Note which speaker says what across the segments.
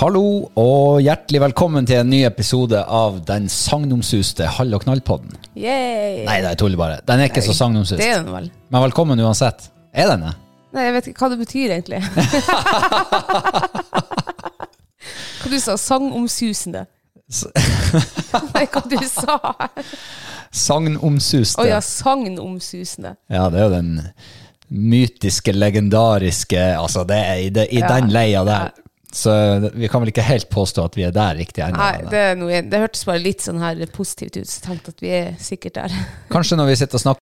Speaker 1: Hallo og hjertelig velkommen til en ny episode av den sagnomsuste Hall og knall-podden.
Speaker 2: Yay.
Speaker 1: Nei, det er tull bare. Den er ikke så sagnomsust.
Speaker 2: Det er den vel.
Speaker 1: Men velkommen uansett. Er den det?
Speaker 2: Nei, jeg vet ikke hva det betyr egentlig. hva du sa? Sangomsusende. Nei, hva du sa?
Speaker 1: Sagnomsuste.
Speaker 2: Å ja, sagnomsusende.
Speaker 1: Ja, det er jo den mytiske, legendariske Altså, det er i, det, i
Speaker 2: Ja.
Speaker 1: den leia der. Så vi kan vel ikke helt påstå at vi er der riktig ennå.
Speaker 2: Nei,
Speaker 1: men
Speaker 2: det, er noe, det hørtes bare litt sånn her positivt ut, så jeg tenkte at vi er sikkert der.
Speaker 1: Kanskje når vi sitter og snakker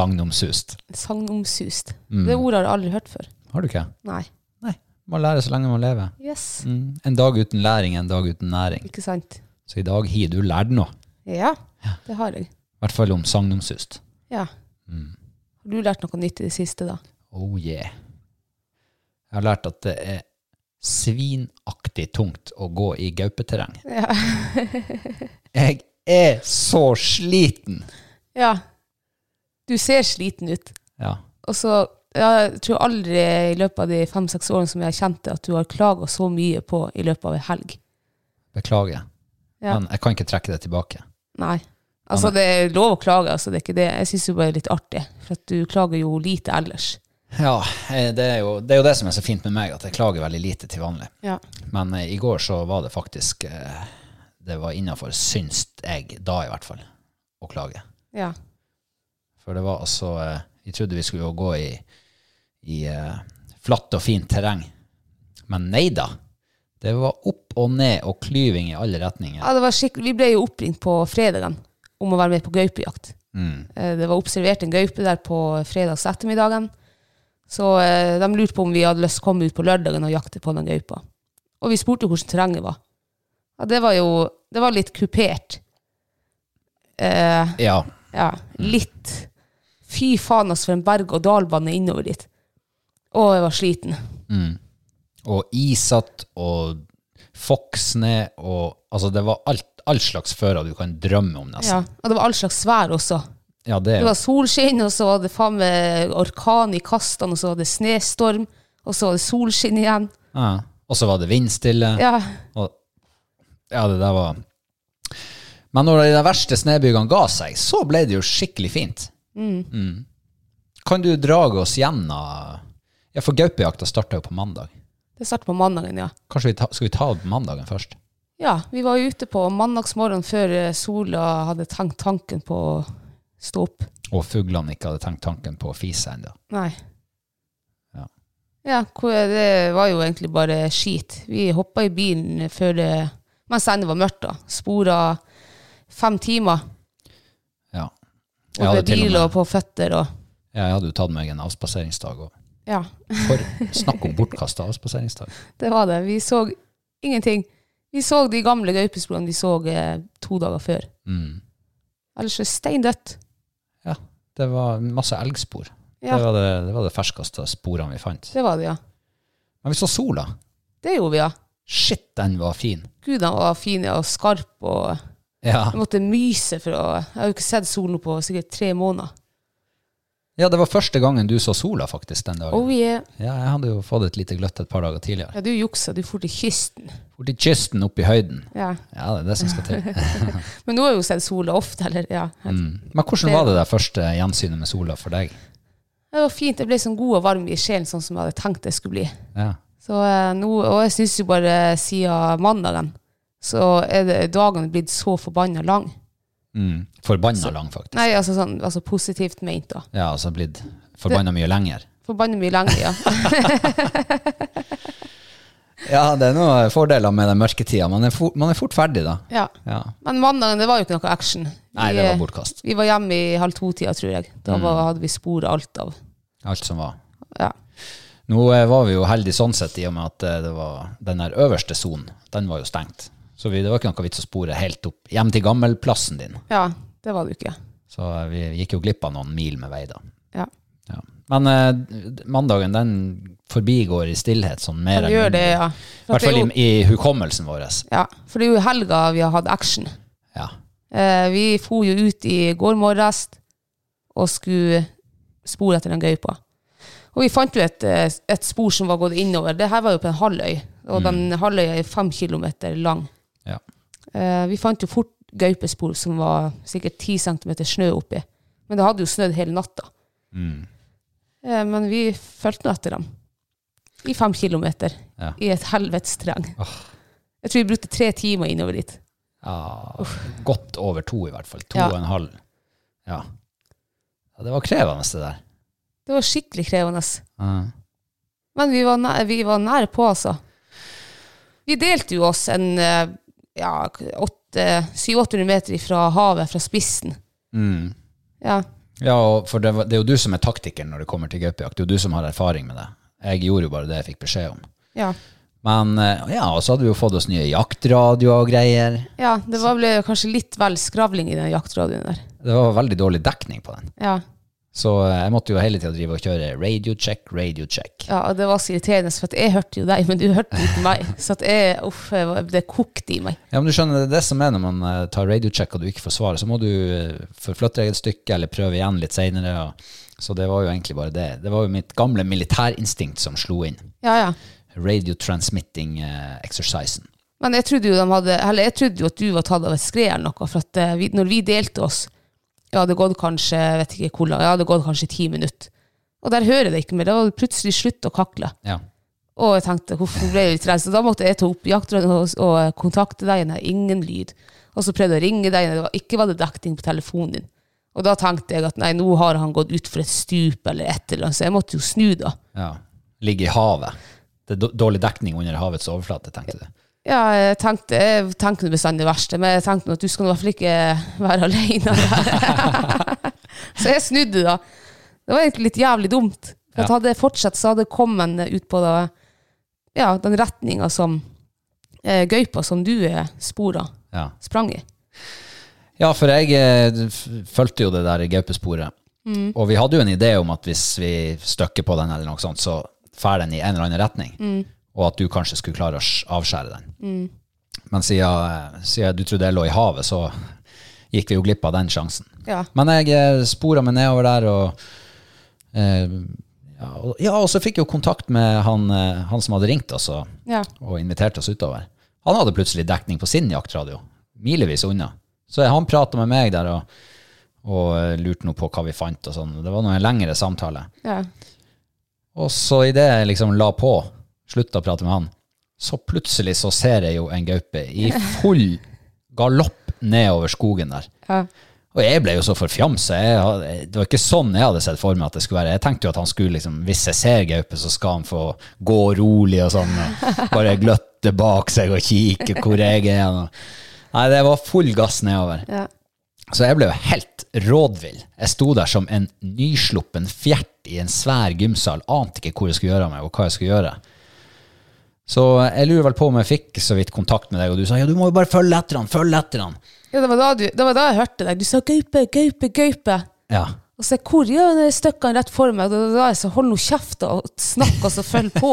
Speaker 1: sagnomsust. Mm.
Speaker 2: Sagnomsust. Det ordet har jeg aldri hørt før.
Speaker 1: Har du ikke?
Speaker 2: Nei.
Speaker 1: Nei. Man lærer så lenge man lever.
Speaker 2: Yes.
Speaker 1: Mm. En dag uten læring er en dag uten næring.
Speaker 2: Ikke sant?
Speaker 1: Så i dag har du lært noe.
Speaker 2: Ja, det har jeg.
Speaker 1: I hvert fall om sagnomsust. Mm.
Speaker 2: Ja. Har du lært noe nytt i det siste, da?
Speaker 1: Oh yeah. Jeg har lært at det er svinaktig tungt å gå i gaupeterreng. jeg er så sliten!
Speaker 2: Ja. Du ser sliten ut.
Speaker 1: Ja.
Speaker 2: Og så, jeg tror aldri i løpet av de fem-seks årene som jeg har kjent det, at du har klaga så mye på i løpet av en helg.
Speaker 1: Beklager.
Speaker 2: Ja.
Speaker 1: Men jeg kan ikke trekke det tilbake.
Speaker 2: Nei. Altså, det er lov å klage, altså, det er ikke det. Jeg syns jo bare det er litt artig, for at du klager jo lite ellers.
Speaker 1: Ja, eh, det er, jo, det er jo det som er så fint med meg, at jeg klager veldig lite til vanlig.
Speaker 2: Ja.
Speaker 1: Men eh, i går så var det faktisk eh, Det var innafor, syns jeg, da i hvert fall, å klage.
Speaker 2: Ja.
Speaker 1: For det var altså eh, Vi trodde vi skulle jo gå i, i eh, flatt og fint terreng. Men nei da. Det var opp og ned og klyving i alle retninger.
Speaker 2: det var skikk- Vi ble jo oppringt på fredagen om å være med på gaupejakt.
Speaker 1: Mm.
Speaker 2: Eh, Det var observert en gaupe der på fredags ettermiddagen. Så eh, de lurte på om vi hadde lyst til å komme ut på lørdagen og jakte på den gaupa. Og vi spurte jo hvordan terrenget var. Ja, det var jo det var litt kupert. Eh,
Speaker 1: Ja.
Speaker 2: ja, litt. Fy faen, altså, for en berg-og-dal-bane innover dit. Å, jeg var sliten.
Speaker 1: Og isatt og foksne og Altså, det var alt, all slags fører du kan drømme om,
Speaker 2: Ja,
Speaker 1: nesten.
Speaker 2: og det var all slags vær også.
Speaker 1: Ja, det er
Speaker 2: Det
Speaker 1: jo
Speaker 2: var solskinn, og så var det faen meg orkan i kastene, og så var det snestorm, og så var det solskinn igjen.
Speaker 1: ja. Og så var det vindstille.
Speaker 2: Ja,
Speaker 1: Og, ja, det der var Men når de verste snøbyggene ga seg, så ble det jo skikkelig fint. Mm. Kan du drage oss gjennom Ja, for gaupejakta starta jo på mandag.
Speaker 2: det startet på mandagen, ja.
Speaker 1: Kanskje vi ta, Skal vi ta mandagen først?
Speaker 2: Ja, vi var jo ute på mandagsmorgen før eh, sola hadde tenkt tanken på å stå opp.
Speaker 1: Og fuglene ikke hadde tenkt tanken på å fise ennå.
Speaker 2: Nei.
Speaker 1: Ja.
Speaker 2: Ja, hvor- det var jo egentlig bare skit. Vi hoppa i bilen før det, mens det ennå var mørkt, da. Spora fem timer.
Speaker 1: Ja. Jeg
Speaker 2: Og
Speaker 1: hadde,
Speaker 2: ble
Speaker 1: til og
Speaker 2: bil og
Speaker 1: med,
Speaker 2: på føtter og
Speaker 1: Ja, jeg hadde jo tatt meg en avspaseringsdag òg.
Speaker 2: Ja,
Speaker 1: For snakk om bortkasta avspaseringsdag.
Speaker 2: det var det. Vi så ingenting. Vi så de gamle gaupesporene vi så eh, to dager før.
Speaker 1: Mm.
Speaker 2: Ellers er det steindødt.
Speaker 1: Ja, det var masse elgspor.
Speaker 2: Ja,
Speaker 1: Det, var det, det var det ferskeste sporene vi fant.
Speaker 2: det var det, ja.
Speaker 1: Men vi så sola.
Speaker 2: Det gjorde vi, ja.
Speaker 1: Shit, den var fin.
Speaker 2: Gud, han var fin ja, og skarp, og
Speaker 1: Ja.
Speaker 2: jeg måtte myse for å Jeg har jo ikke sett solen på sikkert tre måneder.
Speaker 1: ja, det var første gangen du så sola faktisk den dagen.
Speaker 2: Oh yeah.
Speaker 1: Ja, jeg hadde jo fått et lite gløtt et par dager tidligere.
Speaker 2: Ja, du juksa, du for til kysten.
Speaker 1: Bort til kysten, opp i høyden.
Speaker 2: Ja.
Speaker 1: Ja, det er det som skal til.
Speaker 2: Men nå har jeg jo sett sola ofte, eller? Ja.
Speaker 1: Mm. Men hvordan var det der første gjensynet med sola for deg?
Speaker 2: Det var fint, jeg ble sånn god og varm i sjelen, sånn som jeg hadde tenkt det skulle bli.
Speaker 1: Ja.
Speaker 2: Så eh, nå, og jeg syns jo bare eh, siden mandagen, så er det, dagen blitt så forbanna lang.
Speaker 1: Mm. Forbanna lang, faktisk.
Speaker 2: Nei, altså sånn altså positivt meint, da.
Speaker 1: Ja, altså blitt forbanna mye lenger.
Speaker 2: Forbanna mye lenger, ja.
Speaker 1: Ja, det er noen fordeler med den mørketida. Man, er for- man er fort ferdig, da.
Speaker 2: ja.
Speaker 1: Ja.
Speaker 2: Men mandagen, det var jo ikke noe action. Vi,
Speaker 1: Nei, det var Mm.
Speaker 2: eh,
Speaker 1: bortkast.
Speaker 2: Vi var hjemme i halv to-tida, tror jeg. Da var, hadde vi spor alt av.
Speaker 1: Alt som var.
Speaker 2: Ja.
Speaker 1: Nå eh, var vi jo heldige sånn sett, i og med at eh, det var den der øverste sonen, den var jo stengt. Så vi, det var ikke noe vits å spore helt opp hjem til gammelplassen din.
Speaker 2: ja, det var det jo ikke.
Speaker 1: Så eh, vi gikk jo glipp av noen mil med vei, da.
Speaker 2: Ja.
Speaker 1: Ja. Men eh, d- mandagen, den forbigår i stillhet, sånn mer
Speaker 2: Han gjør det,
Speaker 1: mindre.
Speaker 2: ja.
Speaker 1: I hvert fall i, i hukommelsen vår.
Speaker 2: Ja, for det er jo i helga vi har hatt action.
Speaker 1: Ja.
Speaker 2: Eh, vi for jo ut i går morges og skulle spore etter den gaupa. Og vi fant jo et, eh, et spor som var gått innover. Det her var jo på en halvøy, og den halvøya er fem kilometer lang.
Speaker 1: Mm. ja.
Speaker 2: Eh, vi fant jo fort gaupespor som var sikkert ti centimeter snø oppi. Men det hadde jo snødd hele natta.
Speaker 1: Mm.
Speaker 2: Eh, men vi fulgte nå etter dem. I fem kilometer.
Speaker 1: Ja.
Speaker 2: I et helvetes terreng. Jeg tror vi brukte tre timer innover dit.
Speaker 1: Ja, godt over to i hvert fall. To
Speaker 2: Ja.
Speaker 1: og en halv. Ja. ja. Det var krevende det der.
Speaker 2: Det var skikkelig krevende.
Speaker 1: Ja.
Speaker 2: Men vi var, næ- vi var nære på, altså. Vi delte jo oss en eh, ja, åtte- 700-800 meter fra havet, fra spissen.
Speaker 1: Mm.
Speaker 2: Ja,
Speaker 1: Ja, og for det, var- det er jo du som er taktikeren når det kommer til gaupejakt. Det er jo du som har erfaring med det. Jeg gjorde jo bare det jeg fikk beskjed om.
Speaker 2: ja.
Speaker 1: Men eh, ja, og så hadde vi jo fått oss nye jaktradioer og greier.
Speaker 2: ja det var, ble kanskje litt vel skravling i den jaktradioen der.
Speaker 1: Det var veldig dårlig dekning på den.
Speaker 2: Ja,
Speaker 1: Så eh, jeg måtte jo hele tida drive og kjøre radio check, radio check.
Speaker 2: ja og det var så irriterende, for at jeg hørte jo deg, men du hørte ikke meg. Så at jeg, uff, jeg var- det kokte i meg.
Speaker 1: Ja, men du skjønner, det er det som er når man eh, tar radiocheck og du ikke får svar, så må du eh, forflytte deg et stykke eller prøve igjen litt seinere. Så det var jo egentlig bare det. Det var jo mitt gamle militærinstinkt som slo inn.
Speaker 2: Ja, ja.
Speaker 1: Radio transmitting eh, exercisen.
Speaker 2: Men jeg trodde jo, de hadde, eller jeg trodde jo at du var tatt av et skred eller noe, for at eh, vi, når vi delte oss, ja, det gått kanskje, jeg vet ikke hvor lang, ja, det gått kanskje ti minutter. Og der hører jeg det ikke mer, det var plutselig slutt å kakle.
Speaker 1: Ja.
Speaker 2: Og jeg tenkte, hvorfor ble jeg litt redd? Så da måtte jeg ta opp jaktrønnen og, og kontakte deg, nei, ingen lyd. Og så prøvde jeg å ringe deg, nei, det var, ikke var det dekning på telefonen din. Og da tenkte jeg at nei, nå har han gått ut for et stup eller et eller annet, så jeg måtte jo snu da.
Speaker 1: ja. Ligge i havet. Det er då- dårlig dekning under havets overflate, tenkte du.
Speaker 2: Ja, jeg tenkte, jeg tenkte bestandig det verste, men jeg tenkte nå at du skal nå i hvert fall ikke være alene der. så jeg snudde da. Det var egentlig litt jævlig dumt. For at
Speaker 1: Ja.
Speaker 2: Hadde jeg fortsatt, så hadde jeg kommet ut på da, ja, den retninga som eh, gaupa som du eh, spora,
Speaker 1: Ja,
Speaker 2: sprang i.
Speaker 1: ja for jeg eh, f- fulgte jo det der gaupesporet. Og vi hadde jo en idé om at hvis vi støkker på den, eller noe sånt, så fær den i en eller annen retning. Og at du kanskje skulle klare å sj- avskjære den. Men siden, eh, siden du trodde jeg lå i havet, så gikk vi jo glipp av den sjansen.
Speaker 2: Ja.
Speaker 1: Men jeg eh, spora meg nedover der, og, eh, ja, og, ja, og så fikk jeg jo kontakt med han, eh, han som hadde ringt oss og,
Speaker 2: Ja.
Speaker 1: og invitert oss utover. Han hadde plutselig dekning på sin jaktradio, milevis unna. Så han prata med meg der og, og eh, lurte noe på hva vi fant og sånn. Det var nå en lengre samtale.
Speaker 2: ja.
Speaker 1: Og så idet jeg liksom la på, slutta å prate med han, så plutselig så ser jeg jo en gaupe i full galopp nedover skogen der.
Speaker 2: Ja.
Speaker 1: Og jeg ble jo så forfjamsa. Jeg had- Det var ikke sånn jeg hadde sett for meg at det skulle være. Jeg tenkte jo at han skulle liksom, hvis jeg ser gaupe, så skal han få gå rolig og sånn. Og bare gløtte bak seg og kikke hvor jeg er. Og. Nei, det var full gass nedover.
Speaker 2: Ja.
Speaker 1: Så jeg ble jo helt rådvill. Jeg sto der som en nysluppen fjert i en svær gymsal. Ante ikke hvor jeg skulle gjøre av meg, og hva jeg skulle gjøre. Så jeg lurer vel på om jeg fikk så vidt kontakt med deg, og du sa ja, du må jo bare følge etter han, følge etter han.
Speaker 2: Ja, det var da, du, det var da jeg hørte deg. Du sa gaupe, gaupe, gaupe.
Speaker 1: Ja.
Speaker 2: Og så hvor gjør det støkkene rett for meg? Da, da, da jeg så hold nå kjeft og snakk, og så følg på.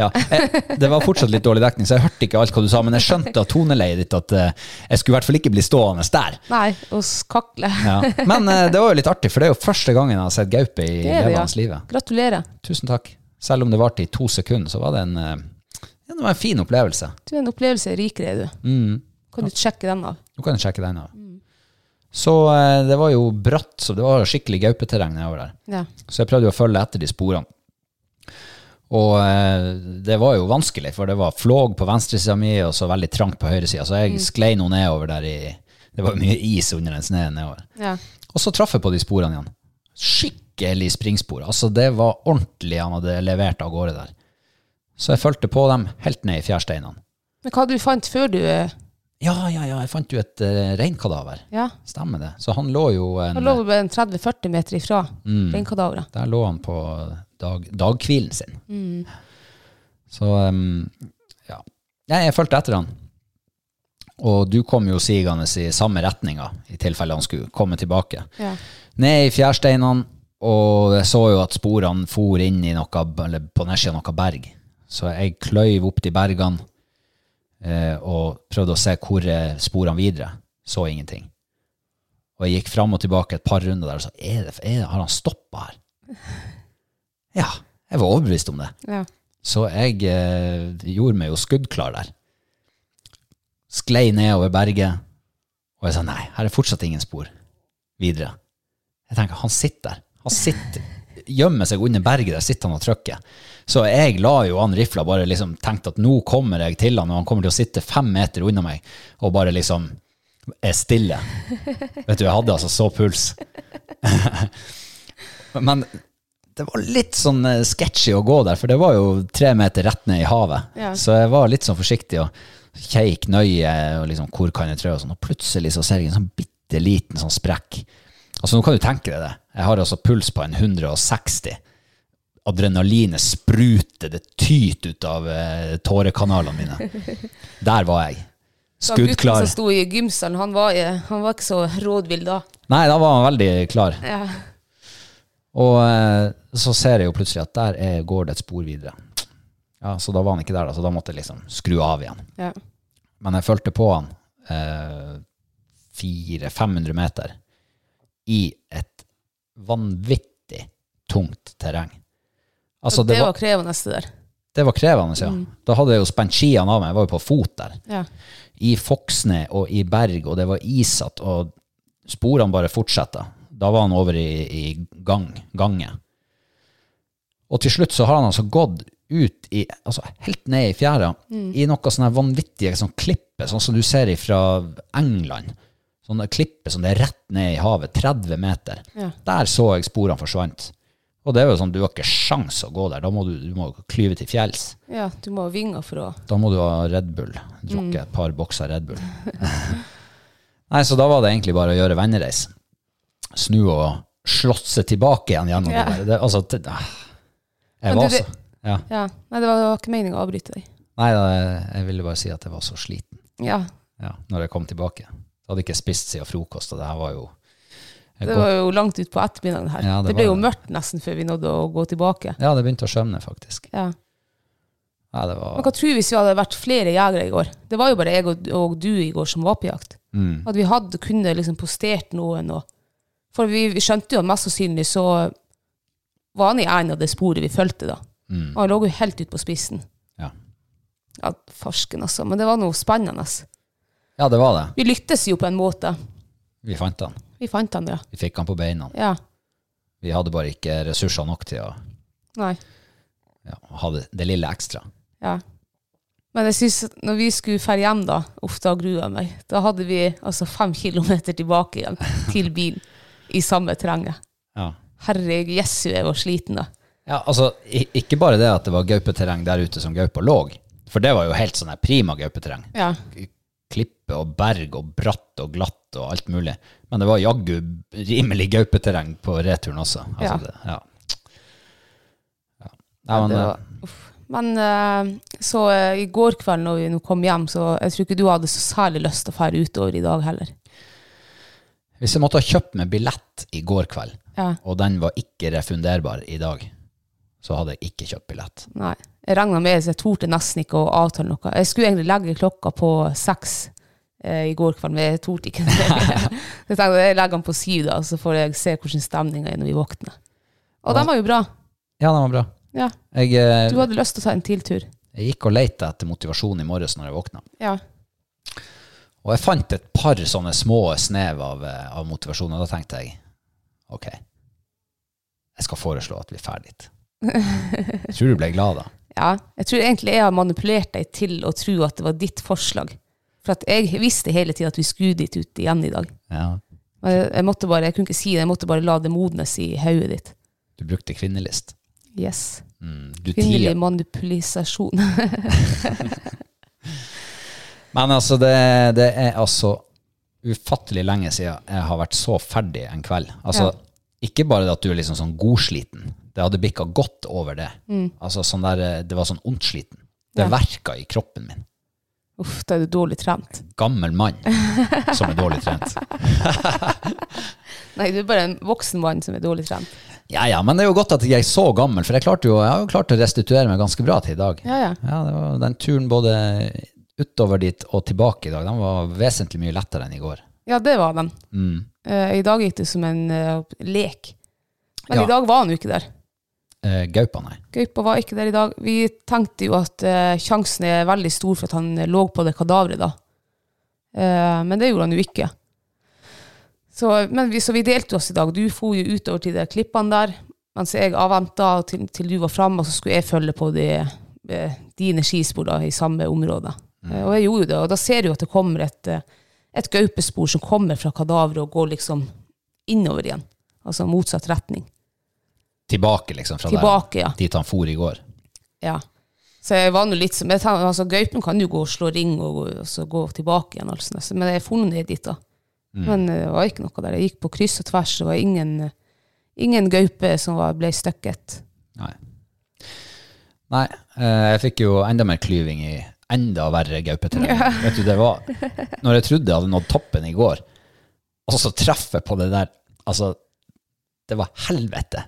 Speaker 1: ja. Jeg, det var fortsatt litt dårlig dekning, så jeg hørte ikke alt hva du sa, men jeg skjønte av toneleiet ditt at eh, jeg skulle i hvert fall ikke bli stående der.
Speaker 2: Nei, og skakle.
Speaker 1: Ja. Men eh, det var jo litt artig, for det er jo første gangen jeg har sett gaupe i
Speaker 2: Det er det,
Speaker 1: levende
Speaker 2: ja.
Speaker 1: livet.
Speaker 2: Gratulerer.
Speaker 1: Tusen takk. Selv om det varte i to sekunder, så var det en, eh, ja, det var en fin opplevelse.
Speaker 2: Du er en opplevelse rikere, du. Kan du sjekke den av?
Speaker 1: Mm. Nå kan jeg sjekke den av. Så eh, det var jo bratt, så det var skikkelig gaupeterreng nedover der.
Speaker 2: Ja.
Speaker 1: Så jeg prøvde jo å følge etter de sporene. Og eh, det var jo vanskelig, for det var flåg på venstresida mi og så veldig trangt på høyresida, så jeg sklei nå nedover der i Det var jo mye is under den sneen nedover.
Speaker 2: ja.
Speaker 1: Og så traff jeg på de sporene igjen. Skikkelig springspor. Altså, det var ordentlig han hadde levert av gårde der. Så jeg fulgte på dem helt ned i fjærsteinene.
Speaker 2: Men hva du fant før du eh,
Speaker 1: Ja, ja, ja, jeg fant jo et eh, reinkadaver.
Speaker 2: Ja.
Speaker 1: Stemmer det. Så han lå jo en,
Speaker 2: Da lå vi bare en 30-40 meter ifra reinkadaveret.
Speaker 1: Der lå han på dag, daghvilen sin. Så um, ja. Nei, jeg fulgte etter han. Og du kom jo sigende i samme retninga, i tilfelle han skulle komme tilbake.
Speaker 2: Ja.
Speaker 1: ned i fjærsteinene, og jeg så jo at sporene for inn i noe, eller på nedsida av noe berg. Så jeg kløyv opp de bergene eh, og prøvde å se hvor er sporene videre. Så ingenting. Og jeg gikk fram og tilbake et par runder der og sa er det, er det, har han stoppa her. Ja, jeg var overbevist om det.
Speaker 2: Ja.
Speaker 1: Så jeg eh, gjorde meg jo skuddklar der. Sklei nedover berget, og jeg sa nei, her er fortsatt ingen spor videre. Jeg tenker, han sitter der. Han sitter, gjemmer seg under berget der, sitter han og trykker. Så jeg la jo han rifla, bare liksom tenkte at nå kommer jeg til han, og han kommer til å sitte fem meter unna meg, og bare liksom er stille. Vet du, jeg hadde altså så puls. Men det var litt sånn eh, sketchy å gå der, for det var jo tre meter rett ned i havet.
Speaker 2: Ja.
Speaker 1: Så jeg var litt sånn forsiktig og kjeik nøye og liksom hvor kan jeg trø og sånn, og plutselig så ser jeg en sånn bitte liten sånn sprekk. Altså nå kan du tenke deg det. Jeg har altså puls på en 160. Adrenalinet spruter, det tyter ut av eh, tårekanalene mine. Der var jeg.
Speaker 2: Da gutten
Speaker 1: Skuddklar.
Speaker 2: som sto i gymsalen, han var, eh, han var ikke så rådvill da.
Speaker 1: Nei, da var han veldig klar.
Speaker 2: Ja.
Speaker 1: Og eh, så ser jeg jo plutselig at der er, går det et spor videre. Ja, Så da var han ikke der, da, så da måtte jeg liksom skru av igjen.
Speaker 2: Ja.
Speaker 1: Men jeg fulgte på han eh, 400-500 meter i et vanvittig tungt terreng. Altså,
Speaker 2: det,
Speaker 1: det
Speaker 2: var
Speaker 1: var,
Speaker 2: krevende det der.
Speaker 1: det var krevende, ja. Da hadde jeg jo spent skiene av meg, jeg var jo på fot der
Speaker 2: Ja.
Speaker 1: i Foksne og i berg, og det var isatt, og sporene bare fortsetter. Da var han over i, i gang, gange. Og til slutt så har han altså gått ut i, altså helt ned i fjæra, i noe sånne vanvittige sånn klippe, sånn som du ser fra England. Sånne klippe som det er rett ned i havet, 30 meter.
Speaker 2: Ja.
Speaker 1: Der så jeg sporene forsvant. Og det er jo sånn, du har ikke sjans å gå der, da må du, du må klyve til fjells.
Speaker 2: ja, du må ha vinger for å
Speaker 1: Da må du ha Red Bull. Drukke et par bokser Red Bull. Nei, så da var det egentlig bare å gjøre vennereis. Snu og slåsse tilbake igjen gjennom
Speaker 2: Ja.
Speaker 1: det der. Det, altså, det, ah. jeg
Speaker 2: Men
Speaker 1: var
Speaker 2: du,
Speaker 1: så
Speaker 2: det-
Speaker 1: ja.
Speaker 2: Ja. Nei, det var, det var ikke meningen å avbryte deg.
Speaker 1: Nei, da, jeg ville bare si at jeg var så sliten
Speaker 2: Ja.
Speaker 1: ja, når jeg kom tilbake. Jeg hadde ikke spist siden frokost, og det her var jo jeg
Speaker 2: Det
Speaker 1: kom-
Speaker 2: var jo langt ut på ettermiddagen her.
Speaker 1: Ja, det
Speaker 2: det, ble
Speaker 1: var
Speaker 2: jo
Speaker 1: det.
Speaker 2: mørkt nesten før vi nådde å gå tilbake.
Speaker 1: Ja, det begynte å skjønne, faktisk.
Speaker 2: Ja.
Speaker 1: Nei, det
Speaker 2: Men
Speaker 1: var
Speaker 2: hva tror du hvis vi hadde vært flere jegere i går? Det var jo bare jeg og, og du i går som var på jakt. At vi hadde kunne liksom postert noen og For vi, vi skjønte jo at mest sannsynlig så var han i enden av det sporet vi fulgte, da. Og han lå jo helt ut på spissen.
Speaker 1: ja.
Speaker 2: Ja, farsken, altså. Men det var noe spennende. ass.
Speaker 1: ja, det var det.
Speaker 2: Vi lyktes jo på en måte.
Speaker 1: Vi fant han.
Speaker 2: Vi fant han, ja.
Speaker 1: Vi fikk han på beina.
Speaker 2: Ja.
Speaker 1: Vi hadde bare ikke ressurser nok til å
Speaker 2: Nei.
Speaker 1: ja, ha det, det lille ekstra.
Speaker 2: Ja. Men jeg synes at når vi skulle ferde hjem, da, uff, da grua jeg meg. Da hadde vi altså fem kilometer tilbake igjen til bilen i samme terrenget.
Speaker 1: Ja.
Speaker 2: Herre jesu, jeg var sliten da.
Speaker 1: Ja, altså, i- ikke bare det at det var gaupeterreng der ute som gaupa lå, for det var jo helt sånn her prima gaupeterreng.
Speaker 2: Ja.
Speaker 1: Klipp, klippe og berg og bratt og glatt og alt mulig. Men det var jaggu rimelig gaupeterreng på returen også. Altså,
Speaker 2: Ja.
Speaker 1: Det, ja. Ja. Nei, men,
Speaker 2: det var- uff. Men eh, så eh, i går kveld når vi nå kom hjem, så jeg tror ikke du hadde så særlig lyst til å fære utover i dag heller.
Speaker 1: eh, hvis jeg måtte ha kjøpt meg billett i går kveld,
Speaker 2: Ja,
Speaker 1: og den var ikke refunderbar i dag, så hadde jeg ikke kjøpt billett.
Speaker 2: nei. Jeg regna med så jeg torde nesten ikke å avtale noe. Jeg skulle egentlig legge klokka på seks eh, i går kveld, men jeg torde ikke det. så jeg tenkte jeg legger den på syv, da, så får jeg se hvordan stemninga er når vi våkner. Og den var jo bra.
Speaker 1: Ja, den var bra.
Speaker 2: Ja.
Speaker 1: Jeg, eh,
Speaker 2: Du hadde lyst til å ta en til tur.
Speaker 1: jeg gikk og lette etter motivasjon i morges når jeg våkna.
Speaker 2: Ja.
Speaker 1: Og jeg fant et par sånne små snev av, eh, av motivasjon, og da tenkte jeg ok, jeg skal foreslå at vi er ferdig. Jeg tror du ble glad da.
Speaker 2: Ja, jeg tror egentlig jeg har manipulert deg til å tro at det var ditt forslag. For at jeg visste hele tiden at vi skulle dit ut igjen i dag.
Speaker 1: Ja.
Speaker 2: Men jeg, jeg måtte bare, jeg kunne ikke si det, jeg måtte bare la det modnes i hodet ditt.
Speaker 1: Du brukte kvinnelist.
Speaker 2: Yes.
Speaker 1: Mm, du
Speaker 2: Kvinnelig
Speaker 1: tier.
Speaker 2: manipulisasjon.
Speaker 1: Men altså, det, det er altså ufattelig lenge siden jeg har vært så ferdig en kveld. Altså,
Speaker 2: Ja.
Speaker 1: ikke bare at du er liksom sånn godsliten. Det hadde bikka godt over det. Altså, sånn der, eh, det var sånn ondsliten. Det
Speaker 2: Mm. Ja.
Speaker 1: verka i kroppen min.
Speaker 2: Uff, da er du dårlig trent.
Speaker 1: Gammel mann som er dårlig trent.
Speaker 2: Nei, du er bare en voksen mann som er dårlig trent.
Speaker 1: Ja, ja, men det er jo godt at jeg er så gammel, for jeg, klarte jo, jeg har jo klart å restituere meg ganske bra til i dag.
Speaker 2: Ja, ja.
Speaker 1: det var Den turen både utover dit og tilbake i dag, den var vesentlig mye lettere enn i går.
Speaker 2: Ja, det var den.
Speaker 1: Mm.
Speaker 2: Eh, I dag gikk det som en eh, lek. Men
Speaker 1: Ja.
Speaker 2: i dag var han jo ikke der.
Speaker 1: Eh, Gaupa, nei.
Speaker 2: Gaupa var ikke der i dag. Vi tenkte jo at eh, sjansen er veldig stor for at han lå på det kadaveret da. Eh, men det gjorde han jo ikke. Så, men vi, så vi delte oss i dag. Du for jo utover til de klippene der, mens jeg avventa til, til du var framme, og så skulle jeg følge på de, eh, dine skispor da, i samme område. Eh, og jeg gjorde jo det, og da ser du at det kommer et, eh, et gaupespor som kommer fra kadaveret og går liksom innover igjen. Altså motsatt retning.
Speaker 1: Tilbake, liksom, fra
Speaker 2: Tilbake, ja.
Speaker 1: der dit han for i går.
Speaker 2: Ja. Så jeg var nå litt som jeg tenkte, altså, Gaupen kan jo gå og slå ring og, gå- og så gå tilbake igjen, altså. Så- men jeg for nå ned dit, da. Men eh, det var ikke noe der. Jeg gikk på kryss og tvers, det var ingen, ingen gaupe som var, ble støkket.
Speaker 1: Nei. Nei, eh, jeg fikk jo enda mer klyving i enda verre gaupeterreng. Vet du, det var Når jeg trodde jeg hadde nådd toppen i går, og så treffer jeg på det der Altså, det var helvete.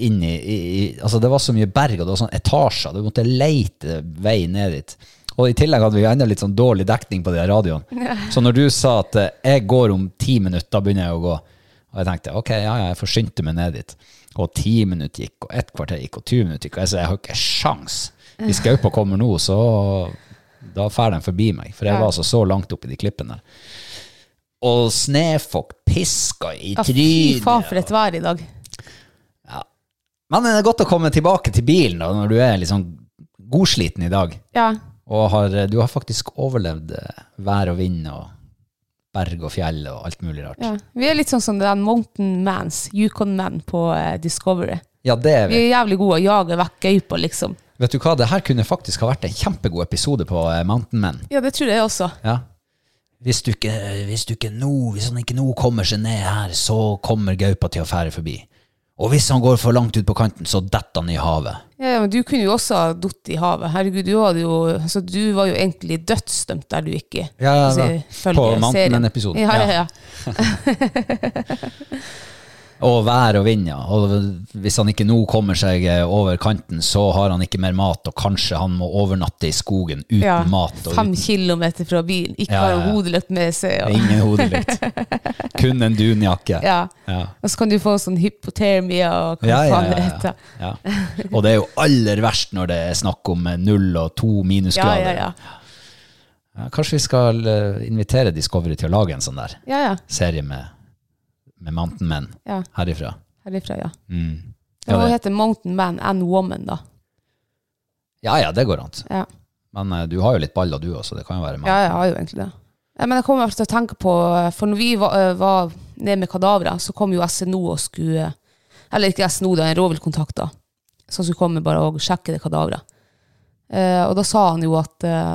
Speaker 1: Inni i, i, Altså, det var så mye berg, og det var sånn etasjer. Du måtte leite vei ned dit. Og i tillegg hadde vi jo enda litt sånn dårlig dekning på de her radioene. Så når du sa at eh, jeg går om ti minutter, da begynner jeg å gå. Og jeg tenkte ok, ja, ja, jeg forsynte meg ned dit. Og ti minutter gikk, og ett kvarter gikk, og 20 minutter gikk. Og jeg sa jeg har ikke sjans. Hvis gaupa kommer nå, så da drar den forbi meg. For jeg var altså så langt opp i de klippene der. Og snøfolk piska i
Speaker 2: Ja, fy faen for
Speaker 1: trynet.
Speaker 2: et vær i dag.
Speaker 1: Men det er godt å komme tilbake til bilen da, når du er liksom godsliten i dag.
Speaker 2: Ja.
Speaker 1: Og har, du har faktisk overlevd eh, vær og vind og berg og fjell og alt mulig rart.
Speaker 2: ja. Vi er litt sånn som den Mountain Mans, Yukon Men på eh, Discovery.
Speaker 1: Ja, det er
Speaker 2: Vi
Speaker 1: vi.
Speaker 2: er jævlig gode å jage vekk gaupa, liksom.
Speaker 1: Vet du hva, det her kunne faktisk ha vært en kjempegod episode på eh, Mountain Men.
Speaker 2: Ja, det tror jeg også.
Speaker 1: Ja. Hvis du ikke, hvis du ikke nå, hvis han ikke nå kommer seg ned her, så kommer gaupa til å fære forbi. Og hvis han går for langt ut på kanten, så detter han i havet.
Speaker 2: Ja, ja, men du kunne jo også ha datt i havet. Herregud, du, hadde jo, altså, du var jo egentlig dødsdømt der du gikk i.
Speaker 1: Ja, ja,
Speaker 2: Altså,
Speaker 1: da.
Speaker 2: ifølge
Speaker 1: På Mountain
Speaker 2: serien.
Speaker 1: Man-episoden.
Speaker 2: Ja, ja,
Speaker 1: Ja.
Speaker 2: ja.
Speaker 1: Og vær og vind, ja. Og hvis han ikke nå kommer seg eh, over kanten, så har han ikke mer mat, og kanskje han må overnatte i skogen uten
Speaker 2: Ja,
Speaker 1: mat. Og
Speaker 2: Fem
Speaker 1: uten
Speaker 2: kilometer fra bilen, ikke
Speaker 1: Ja,
Speaker 2: har
Speaker 1: ja, ja.
Speaker 2: hodeløp med seg. Og,
Speaker 1: Ingen hodelykt. Kun en dunjakke.
Speaker 2: ja.
Speaker 1: Ja.
Speaker 2: og så kan du få sånn hypotermia og hva
Speaker 1: Ja, ja,
Speaker 2: faen
Speaker 1: ja,
Speaker 2: det
Speaker 1: ja.
Speaker 2: heter.
Speaker 1: ja. Og det er jo aller verst når det er snakk om eh, null og to
Speaker 2: Ja,
Speaker 1: minusgrader.
Speaker 2: ja, ja.
Speaker 1: Ja, kanskje vi skal eh, invitere Discovery til å lage en sånn der
Speaker 2: ja, ja.
Speaker 1: serie med, med Mountain Men
Speaker 2: ja.
Speaker 1: herifra.
Speaker 2: Herifra, ja.
Speaker 1: Mm.
Speaker 2: Det
Speaker 1: Ja,
Speaker 2: må
Speaker 1: det,
Speaker 2: hete Mountain Man and Woman, da.
Speaker 1: ja, ja, det går an.
Speaker 2: Ja,
Speaker 1: Men eh, du har jo litt baller, du også. Det kan jo være
Speaker 2: ja
Speaker 1: Mountain.
Speaker 2: jeg har jo egentlig det. Ja, men jeg kommer i hvert fall til å tenke på, for når vi var, øh, var nede med kadaveret, så kom jo SNO og skulle, eller ikke SNO, da, en rovviltkontakt da, som skulle komme bare og sjekke det kadaveret. Eh, og da sa han jo at eh,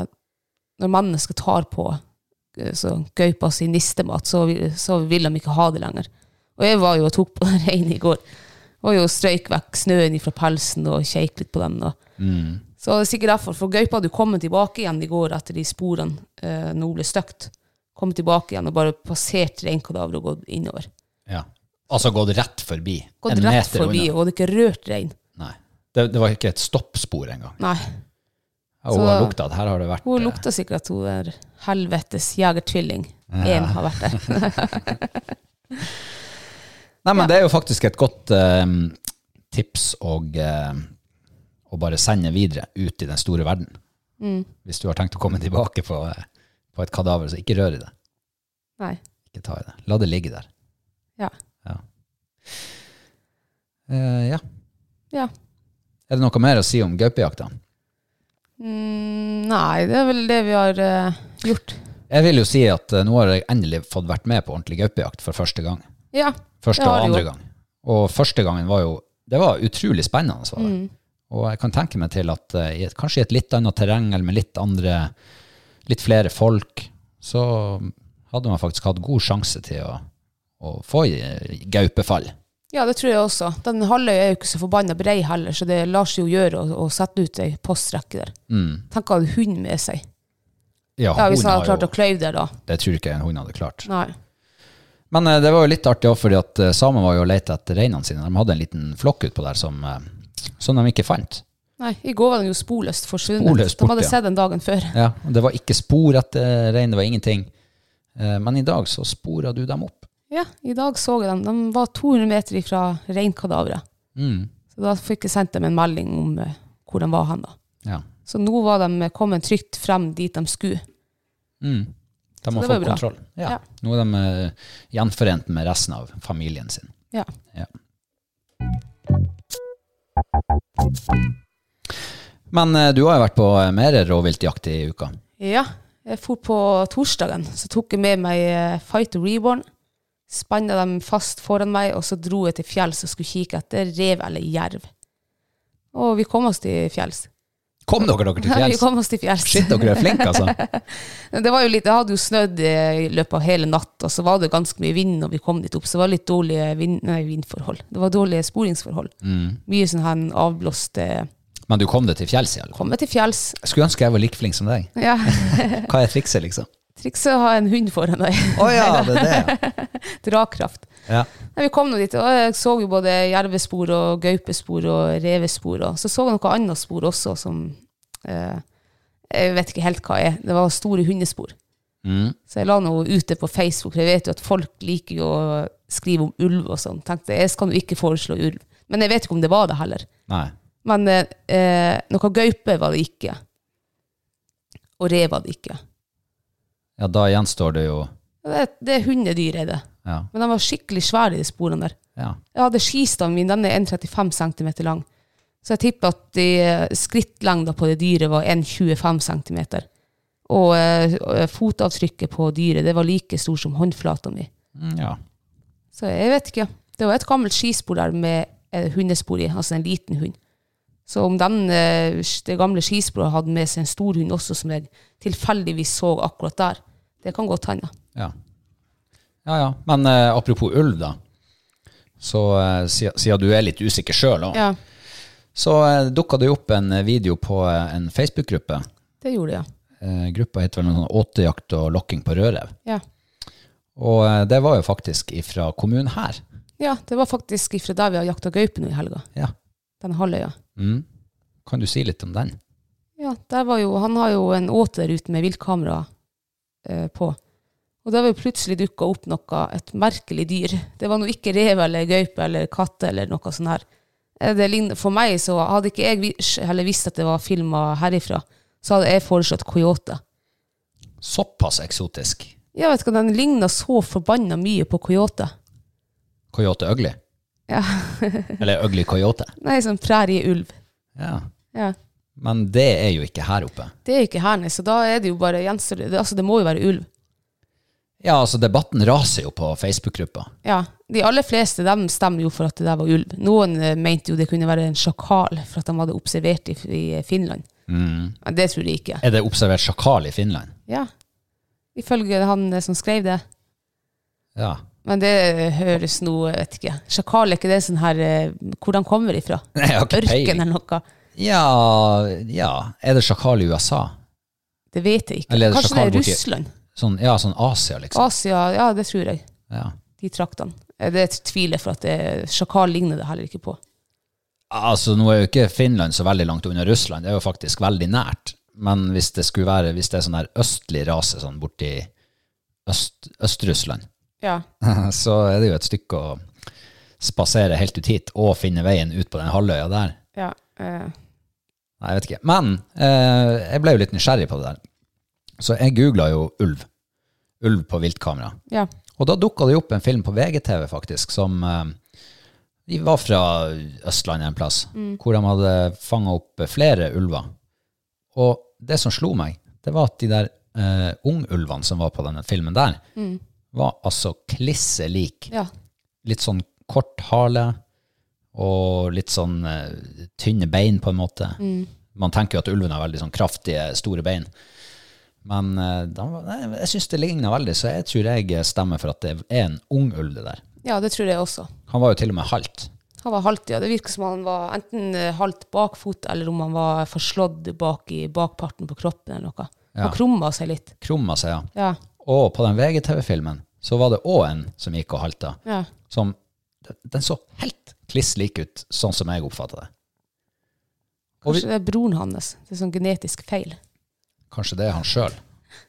Speaker 2: når mennesker tar på så gaupa sin nistemat, så, vi- så ville de ikke ha det lenger. Og jeg var jo og tok på den reinen i går. Og jo strøyk vekk snøen fra pelsen og kjekk litt på den. Og.
Speaker 1: Mm.
Speaker 2: Så det er sikkert derfor, for gaupa hadde jo kommet tilbake igjen i går etter de sporene eh, nå ble støkt. Kommet tilbake igjen og bare passert reinkadaveret og gått innover.
Speaker 1: Ja. Altså gått rett forbi.
Speaker 2: Gått
Speaker 1: En
Speaker 2: rett
Speaker 1: meter
Speaker 2: forbi,
Speaker 1: unna.
Speaker 2: og hadde ikke rørt rein.
Speaker 1: Nei. Det, det var ikke et stoppspor engang.
Speaker 2: Nei.
Speaker 1: Ja, hun
Speaker 2: Så-
Speaker 1: har lukta at her har det vært
Speaker 2: Hun
Speaker 1: eh,
Speaker 2: lukta sikkert at hun er helvetes jegertvilling. Én har vært der.
Speaker 1: Nei, men det er jo faktisk et godt eh, tips å, eh, å bare sende videre ut i den store verden.
Speaker 2: Mm.
Speaker 1: Hvis du har tenkt å komme tilbake på, eh, på et kadaver, så ikke rør i det.
Speaker 2: Nei.
Speaker 1: Ikke ta i det. La det ligge der.
Speaker 2: Ja.
Speaker 1: Ja. Eh, ja.
Speaker 2: ja.
Speaker 1: Er det noe mer å si om gaupejakta?
Speaker 2: Mm, nei, det er vel det vi har eh, gjort.
Speaker 1: Jeg vil jo si at eh, nå har jeg endelig fått vært med på ordentlig gaupejakt for første gang.
Speaker 2: Ja.
Speaker 1: Første
Speaker 2: det har
Speaker 1: og
Speaker 2: du
Speaker 1: andre
Speaker 2: jo.
Speaker 1: gang. Og første gangen var jo Det var utrolig spennende. Var det.
Speaker 2: Mm.
Speaker 1: Og jeg kan tenke meg til at eh, i et- kanskje i et litt annet terreng eller med litt andre Litt flere folk, så hadde man faktisk hatt god sjanse til å, å få i- gaupefall.
Speaker 2: Ja, det tror jeg også. Den halvøya er jo ikke så forbanna brei heller, så det lar seg jo gjøre å, å sette ut ei postrekke der. Tenk å ha en hund med seg. Ja,
Speaker 1: Mm.
Speaker 2: Hvis
Speaker 1: hunden
Speaker 2: han
Speaker 1: har
Speaker 2: hadde klart
Speaker 1: jo-
Speaker 2: å kløyve der, da.
Speaker 1: Det tror jeg ikke en hund hadde klart.
Speaker 2: Nei.
Speaker 1: Men eh, det var jo litt artig òg, fordi at eh, samene var jo og lette etter reinene sine. De hadde en liten flokk utpå der som, eh, som de ikke fant.
Speaker 2: nei. I går var den jo sporløst forsvunnet.
Speaker 1: Sporløst
Speaker 2: De
Speaker 1: borte,
Speaker 2: hadde
Speaker 1: ja.
Speaker 2: sett den dagen før.
Speaker 1: Ja, og det var ikke spor etter rein, det var ingenting. Eh, Men i dag så spora du dem opp.
Speaker 2: Ja, i dag så jeg dem. De var 200 meter ifra reinkadaveret.
Speaker 1: Mm,
Speaker 2: Så da fikk jeg sendt dem en melding om eh, hvor de var hen, da.
Speaker 1: Ja.
Speaker 2: Så nå var de eh, kommet trygt frem dit de skulle.
Speaker 1: Mm. De
Speaker 2: Så
Speaker 1: har
Speaker 2: det var
Speaker 1: fått
Speaker 2: bra.
Speaker 1: kontroll. Ja.
Speaker 2: Ja.
Speaker 1: Nå er de eh, gjenforent med resten av familien sin.
Speaker 2: Ja.
Speaker 1: Ja. Men eh, du har jo vært på eh, mer rovviltjakt i uka.
Speaker 2: ja. Jeg for på torsdagen, så tok jeg med meg eh, Fighter Reborn. Spanna dem fast foran meg, og så dro jeg til fjells og skulle kikke etter rev eller jerv. Og vi kom oss til fjells.
Speaker 1: Kom dere dere til
Speaker 2: vi
Speaker 1: fjells?
Speaker 2: kom oss til fjells.
Speaker 1: Shit, dere er flinke, altså.
Speaker 2: Det var jo litt, det hadde jo snødd eh, i løpet av hele natt, og så var det ganske mye vind når vi kom dit opp, så det var litt dårlige vind, nei, vindforhold. Det var dårlige sporingsforhold.
Speaker 1: Mm.
Speaker 2: Mye sånn her avblåst eh,
Speaker 1: Men du kom deg til fjells i alle fall.
Speaker 2: Komme til fjells.
Speaker 1: Jeg skulle ønske jeg var like flink som deg.
Speaker 2: Ja.
Speaker 1: Hva er trikset, liksom?
Speaker 2: Trikset er å ha en hund foran deg.
Speaker 1: Å ja, det er det.
Speaker 2: Drakraft.
Speaker 1: Ja.
Speaker 2: Nei, vi kom nå dit, og jeg så jo både jervespor og gaupespor og revespor. Og så så jeg noe annet spor også som eh, Jeg vet ikke helt hva er. Det var store hundespor.
Speaker 1: Mm,
Speaker 2: Så jeg la noe ute på Facebook, for jeg vet jo at folk liker jo å skrive om ulv og sånn. Tenkte jeg skal nå ikke foreslå ulv. Men jeg vet ikke om det var det heller.
Speaker 1: Nei.
Speaker 2: Men eh, eh, noe gaupe var det ikke. Og rev var det ikke.
Speaker 1: Ja, da gjenstår det jo
Speaker 2: Det, det er hundedyr, er det.
Speaker 1: Ja.
Speaker 2: Men de var skikkelig svære, de sporene der.
Speaker 1: ja.
Speaker 2: Jeg hadde skistaven min, den er 1,35 cm lang. Så jeg tipper at de eh, skrittlengda på det dyret var 1,25 cm. Og eh, fotavtrykket på dyret det var like stor som håndflata mi.
Speaker 1: Mm, ja.
Speaker 2: Så jeg vet ikke. Det var et gammelt skispor der med eh, hundespor i, altså en liten hund. Så om den, eh, det gamle skisporet hadde med seg en stor hund også, som jeg tilfeldigvis så akkurat der, det kan godt hende.
Speaker 1: Ja. ja, ja. Men eh, apropos ulv, da. Så eh, sia- siden du er litt usikker sjøl òg,
Speaker 2: Ja,
Speaker 1: så eh, dukka det jo opp en eh, video på eh, en Facebook-gruppe.
Speaker 2: det gjorde jeg.
Speaker 1: Eh, gruppa heter vel noe sånn Åtejakt og lokking på rødrev.
Speaker 2: Ja.
Speaker 1: Og eh, det var jo faktisk ifra kommunen her.
Speaker 2: ja, det var faktisk ifra der vi har jakta gaupe nå i helga.
Speaker 1: Ja.
Speaker 2: Den halvøya.
Speaker 1: Mm. Kan du si litt om den?
Speaker 2: Ja, der var jo, han har jo en åte der ute med viltkamera eh, på. Og da var jo plutselig dukka opp noe, et merkelig dyr. Det var nå ikke rev eller gaupe eller katte eller noe sånt her. Eh, Det lign- for meg så hadde ikke jeg vis- heller visst at det var filma herifra, så hadde jeg foreslått coyote.
Speaker 1: Såpass eksotisk.
Speaker 2: Jeg vet ikke, den ligna så forbanna mye på coyote.
Speaker 1: Coyote ugly?
Speaker 2: Ja.
Speaker 1: Eller ugly coyote?
Speaker 2: Nei, sånn prærieulv.
Speaker 1: Ja.
Speaker 2: Ja.
Speaker 1: Men det er jo ikke her oppe.
Speaker 2: Det er jo ikke her, nei, så da er det jo bare gjenstår det, altså, det må jo være ulv.
Speaker 1: Ja, altså, debatten raser jo på Facebook-gruppa.
Speaker 2: Ja, de aller fleste dem stemmer jo for at det der var ulv. Noen eh, mente jo det kunne være en sjakal for at de hadde observert i,
Speaker 1: Mm.
Speaker 2: i Finland. Men det tror de ikke.
Speaker 1: Er det observert sjakal i Finland?
Speaker 2: Ja. ifølge han eh, som skrev det.
Speaker 1: Ja.
Speaker 2: Men det eh, høres nå, jeg vet ikke. Sjakal er ikke det sånn her eh, Hvor de kommer ifra?
Speaker 1: Nei, jeg har ikke
Speaker 2: Ørken
Speaker 1: peiling.
Speaker 2: eller noe?
Speaker 1: Ja, ja. Er det sjakal i USA?
Speaker 2: Det vet jeg ikke.
Speaker 1: Eller er det
Speaker 2: Kanskje det
Speaker 1: sjakal
Speaker 2: er
Speaker 1: borti-
Speaker 2: Russland?
Speaker 1: Sånn, ja, sånn Asia, liksom.
Speaker 2: Asia? Ja, det tror jeg.
Speaker 1: Ja.
Speaker 2: De traktene. Eh, Det tviler jeg for at det, sjakal ligner det heller ikke på.
Speaker 1: Altså, nå er jo ikke Finland så veldig langt unna Russland, det er jo faktisk veldig nært. Men hvis det skulle være, hvis det er sånn der østlig rase sånn borti øst, Øst-Russland,
Speaker 2: Ja.
Speaker 1: så er det jo et stykke å spasere helt ut hit og finne veien ut på den halvøya der.
Speaker 2: ja. eh,
Speaker 1: Nei, jeg vet ikke. Men eh, jeg ble jo litt nysgjerrig på det der. Så jeg googla jo ulv. Ulv på viltkamera.
Speaker 2: ja.
Speaker 1: Og da dukka det jo opp en film på VGTV, faktisk, som eh, de var fra Østlandet en plass, hvor de hadde fanga opp flere ulver. Og det som slo meg, det var at de der eh, ungulvene som var på denne filmen der, var altså klisse lik.
Speaker 2: ja.
Speaker 1: Litt sånn kort hale og litt sånn eh, tynne bein, på en måte. Man tenker jo at ulven har veldig sånn kraftige, store bein. Men eh, de var- nei, jeg syns det ligner veldig, så jeg tror jeg stemmer for at det er en ung ulv, det der.
Speaker 2: Ja, det tror jeg også.
Speaker 1: Han var jo til og med halvt.
Speaker 2: Han var halvt, ja. Det virker som han var enten eh, halvt bakfot, eller om han var forslått bak i bakparten på kroppen eller noe. Han krumma seg litt.
Speaker 1: Krumma seg, ja.
Speaker 2: Ja.
Speaker 1: Og på den VGTV-filmen så var det òg en som gikk og halta.
Speaker 2: ja.
Speaker 1: Som Den så helt kliss lik ut, sånn som jeg oppfatta det. Og vi-
Speaker 2: Kanskje det er broren hans. Det er sånn genetisk feil.
Speaker 1: Kanskje det er han sjøl.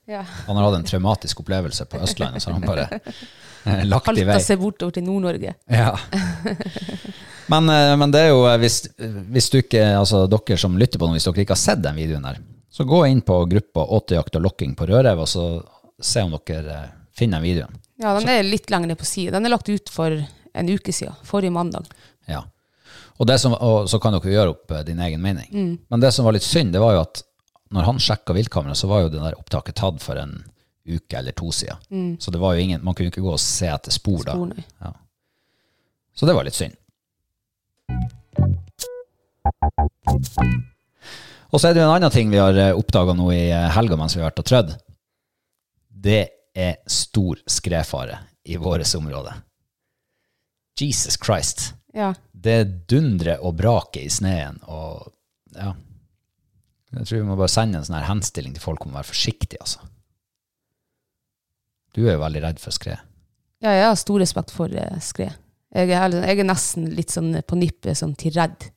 Speaker 2: Ja.
Speaker 1: Han har hatt en traumatisk opplevelse på Østlandet, så han bare eh, lagt i vei.
Speaker 2: Halta seg bortover til Nord-Norge.
Speaker 1: Ja. Men, eh, men det er jo eh, hvis, hvis du ikke, altså dere som lytter på nå, hvis dere ikke har sett den videoen der, så gå inn på gruppa Åtejakt og lokking på Rødrev, og så se om dere eh, finner den videoen.
Speaker 2: Ja, den er litt lenger ned på sida. Den er lagt ut for en uke siden. Forrige mandag.
Speaker 1: Ja. Og, det som, og så kan dere gjøre opp eh, din egen mening.
Speaker 2: Mm.
Speaker 1: Men det som var litt synd, det var jo at når han sjekka viltkamera, så var jo det der opptaket tatt for en uke eller to siden. Så det var jo ingen, man kunne ikke gå og se etter spor da.
Speaker 2: Mm. Spor, nei.
Speaker 1: ja. Så det var litt synd. Og så er det jo en annen ting vi har oppdaga nå i eh, helga mens vi har vært og trødd. Det er stor skredfare i vårt område. Jesus Christ
Speaker 2: Ja.
Speaker 1: det dundrer og braker i sneen. Og ja Jeg tror vi må bare sende en sånn her henstilling til folk om å være forsiktige, altså. Du er jo veldig redd for skred.
Speaker 2: ja, jeg har stor respekt for eh, skred. Jeg er, heller- jeg er nesten litt sånn på nippet sånn til redd,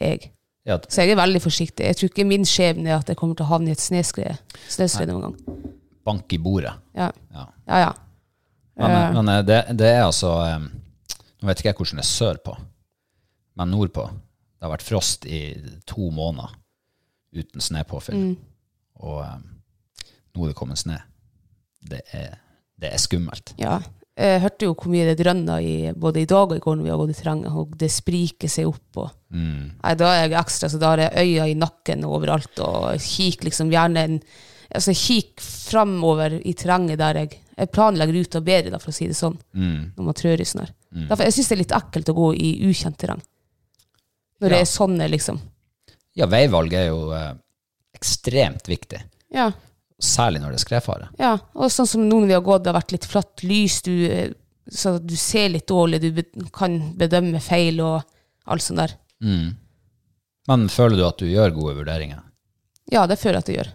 Speaker 2: jeg.
Speaker 1: Ja, t-
Speaker 2: Så jeg er veldig forsiktig. Jeg tror ikke min skjebne er at jeg kommer til å havne i et snøskred snøskred noen gang.
Speaker 1: bank i bordet.
Speaker 2: Ja,
Speaker 1: Ja.
Speaker 2: ja. ja.
Speaker 1: Men, men eh, det, det er altså eh, Nå vet ikke jeg hvordan det er sørpå, men nordpå. Det har vært frost i to måneder uten snøpåfyll. Og eh, nå er det kommet snø. Det er, det er skummelt.
Speaker 2: ja. Jeg hørte jo hvor mye det drønna i, både i dag og i går når vi har gått i terrenget, og det spriker seg opp. Og.
Speaker 1: Mm,
Speaker 2: Nei, da er jeg ekstra, så da har jeg øya i nakken og overalt, og kikk liksom gjerne en Altså kikk framover i terrenget der jeg Jeg planlegger ruta bedre, da, for å si det sånn,
Speaker 1: Mm.
Speaker 2: når man trør i snø. Derfor jeg syns det er litt ekkelt å gå i ukjent terreng. Når det
Speaker 1: Ja.
Speaker 2: er sånne, liksom.
Speaker 1: Ja, veivalg er jo eh, ekstremt viktig,
Speaker 2: Ja.
Speaker 1: særlig når det er skredfare.
Speaker 2: Ja, og sånn som nå når vi har gått, det har vært litt flatt lys, du, eh, så du ser litt dårlig, du be kan bedømme feil og alt sånt der.
Speaker 1: Men føler du at du gjør gode vurderinger?
Speaker 2: Ja, det føler jeg at jeg gjør.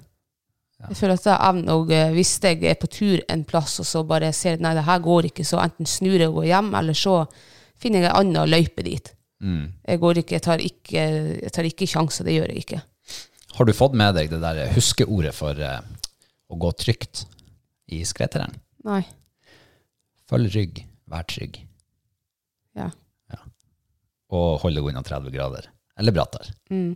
Speaker 2: Jeg føler at jeg evner, og eh, hvis jeg er på tur en plass, og så bare ser at nei, det her går ikke, så enten snur jeg og går hjem, eller så finner jeg en annen løype dit. Jeg går ikke, jeg tar ikke, jeg tar ikke sjanser, det gjør jeg ikke.
Speaker 1: Har du fått med deg det der huskeordet for eh, å gå trygt i skredterreng?
Speaker 2: Nei,
Speaker 1: Følg rygg, vær trygg,
Speaker 2: ja.
Speaker 1: og hold deg unna 30 grader. Eller brattere.
Speaker 2: Mm.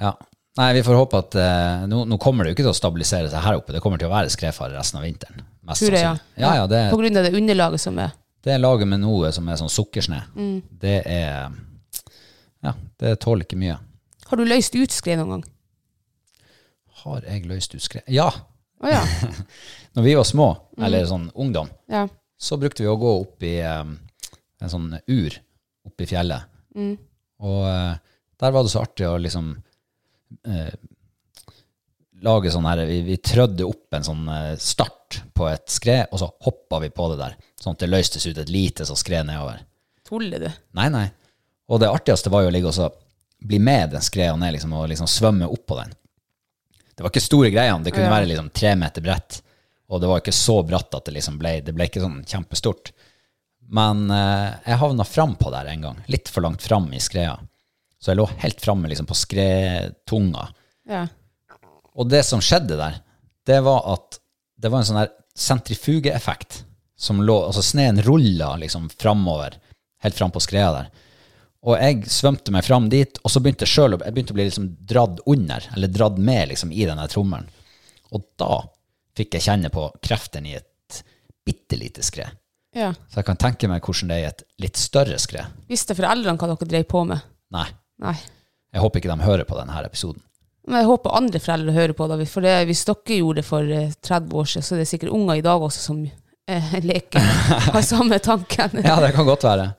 Speaker 1: Ja. Nei, vi får håpe at eh, nå, nå kommer det jo ikke til å stabilisere seg her oppe. Det kommer til å være skredfare resten av vinteren. mest
Speaker 2: Tror jeg, ja.
Speaker 1: sannsynlig. Ja, ja, det,
Speaker 2: På grunn av det underlaget som er.
Speaker 1: Det laget med noe som er sånn sukkersne, det er Ja, det tåler ikke mye.
Speaker 2: Har du løst utskred noen gang?
Speaker 1: Har jeg løst ut skred? Ja!
Speaker 2: Åja,
Speaker 1: Når vi var små, eller sånn ungdom,
Speaker 2: ja.
Speaker 1: så brukte vi å gå opp i eh, en sånn ur oppe i fjellet. Og eh, der var det så artig å liksom eh, lage sånn her Vi, vi trødde opp en sånn eh, start på et skred, og så hoppa vi på det der. Sånn at det løstes ut et lite sånn skred nedover.
Speaker 2: Tuller du?
Speaker 1: Nei, nei. Og det artigste var jo å ligge og så bli med den skreia ned liksom, og liksom svømme opp på den. Det var ikke store greiene. Det kunne være liksom tre meter bredt. Og det var ikke så bratt at det liksom ble Det ble ikke sånn kjempestort. Men eh, jeg havna frampå der en gang. Litt for langt fram i skreia. Så jeg lå helt framme liksom, på skredtunga.
Speaker 2: Ja.
Speaker 1: Og det som skjedde der, det var at det var en sånn her sentrifugeeffekt som lå Altså sneen rulla liksom framover, helt fram på skreia der. Og jeg svømte meg fram dit, og så begynte jeg sjøl å jeg begynte å bli liksom dratt under, eller dratt med liksom i den der trommelen. Og da fikk jeg kjenne på kreftene i et bitte lite skred.
Speaker 2: ja.
Speaker 1: Så jeg kan tenke meg hvordan det er i et litt større skred.
Speaker 2: Visste foreldrene hva dere drev på med?
Speaker 1: Nei,
Speaker 2: Nei.
Speaker 1: jeg håper ikke de hører på denne episoden.
Speaker 2: Men jeg håper andre foreldre hører på, da, for det, hvis dere gjorde det for eh, 30 år siden, så er det sikkert unger i dag også som eh, leker har samme tanken.
Speaker 1: Ja, det kan godt være.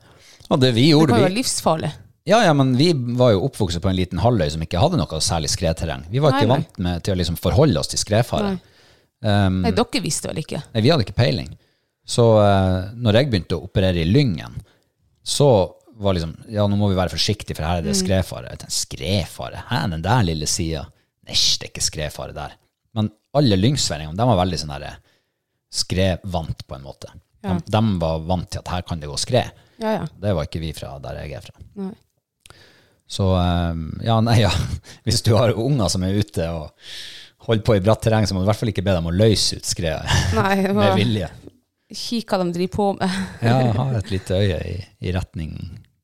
Speaker 1: Og det vi
Speaker 2: det
Speaker 1: gjorde,
Speaker 2: kan jo
Speaker 1: vi
Speaker 2: være livsfarlig.
Speaker 1: Ja, ja, men vi var jo oppvokst på en liten halvøy som ikke hadde noe særlig skredterreng. Vi var
Speaker 2: Nei,
Speaker 1: ikke
Speaker 2: nei.
Speaker 1: vant med, til å liksom forholde oss til skredfare.
Speaker 2: Nei.
Speaker 1: Um,
Speaker 2: Nei, dere visste vel ikke?
Speaker 1: nei, vi hadde ikke peiling. Så eh, når jeg begynte å operere i Lyngen, så var liksom Ja, nå må vi være forsiktige, for her er
Speaker 2: Mm.
Speaker 1: det skredfare. Jeg tenkte, skredfare? Hæ, den der lille sida? Næsj, det er ikke skredfare der. Men alle lyngsværingene, de var veldig sånn derre skredvant, på en måte.
Speaker 2: Ja.
Speaker 1: De, de var vant til at her kan det gå skred.
Speaker 2: Ja, ja.
Speaker 1: Det var ikke vi fra der jeg er fra.
Speaker 2: Nei.
Speaker 1: Så eh, ja, nei, ja. Hvis du har unger som er ute og holder på i bratt terreng, så må du i hvert fall ikke be dem å løse ut skredet
Speaker 2: Nei, det
Speaker 1: med
Speaker 2: var-
Speaker 1: vilje.
Speaker 2: Kikk hva de driver på med.
Speaker 1: Ja, ha et lite øye i, i retning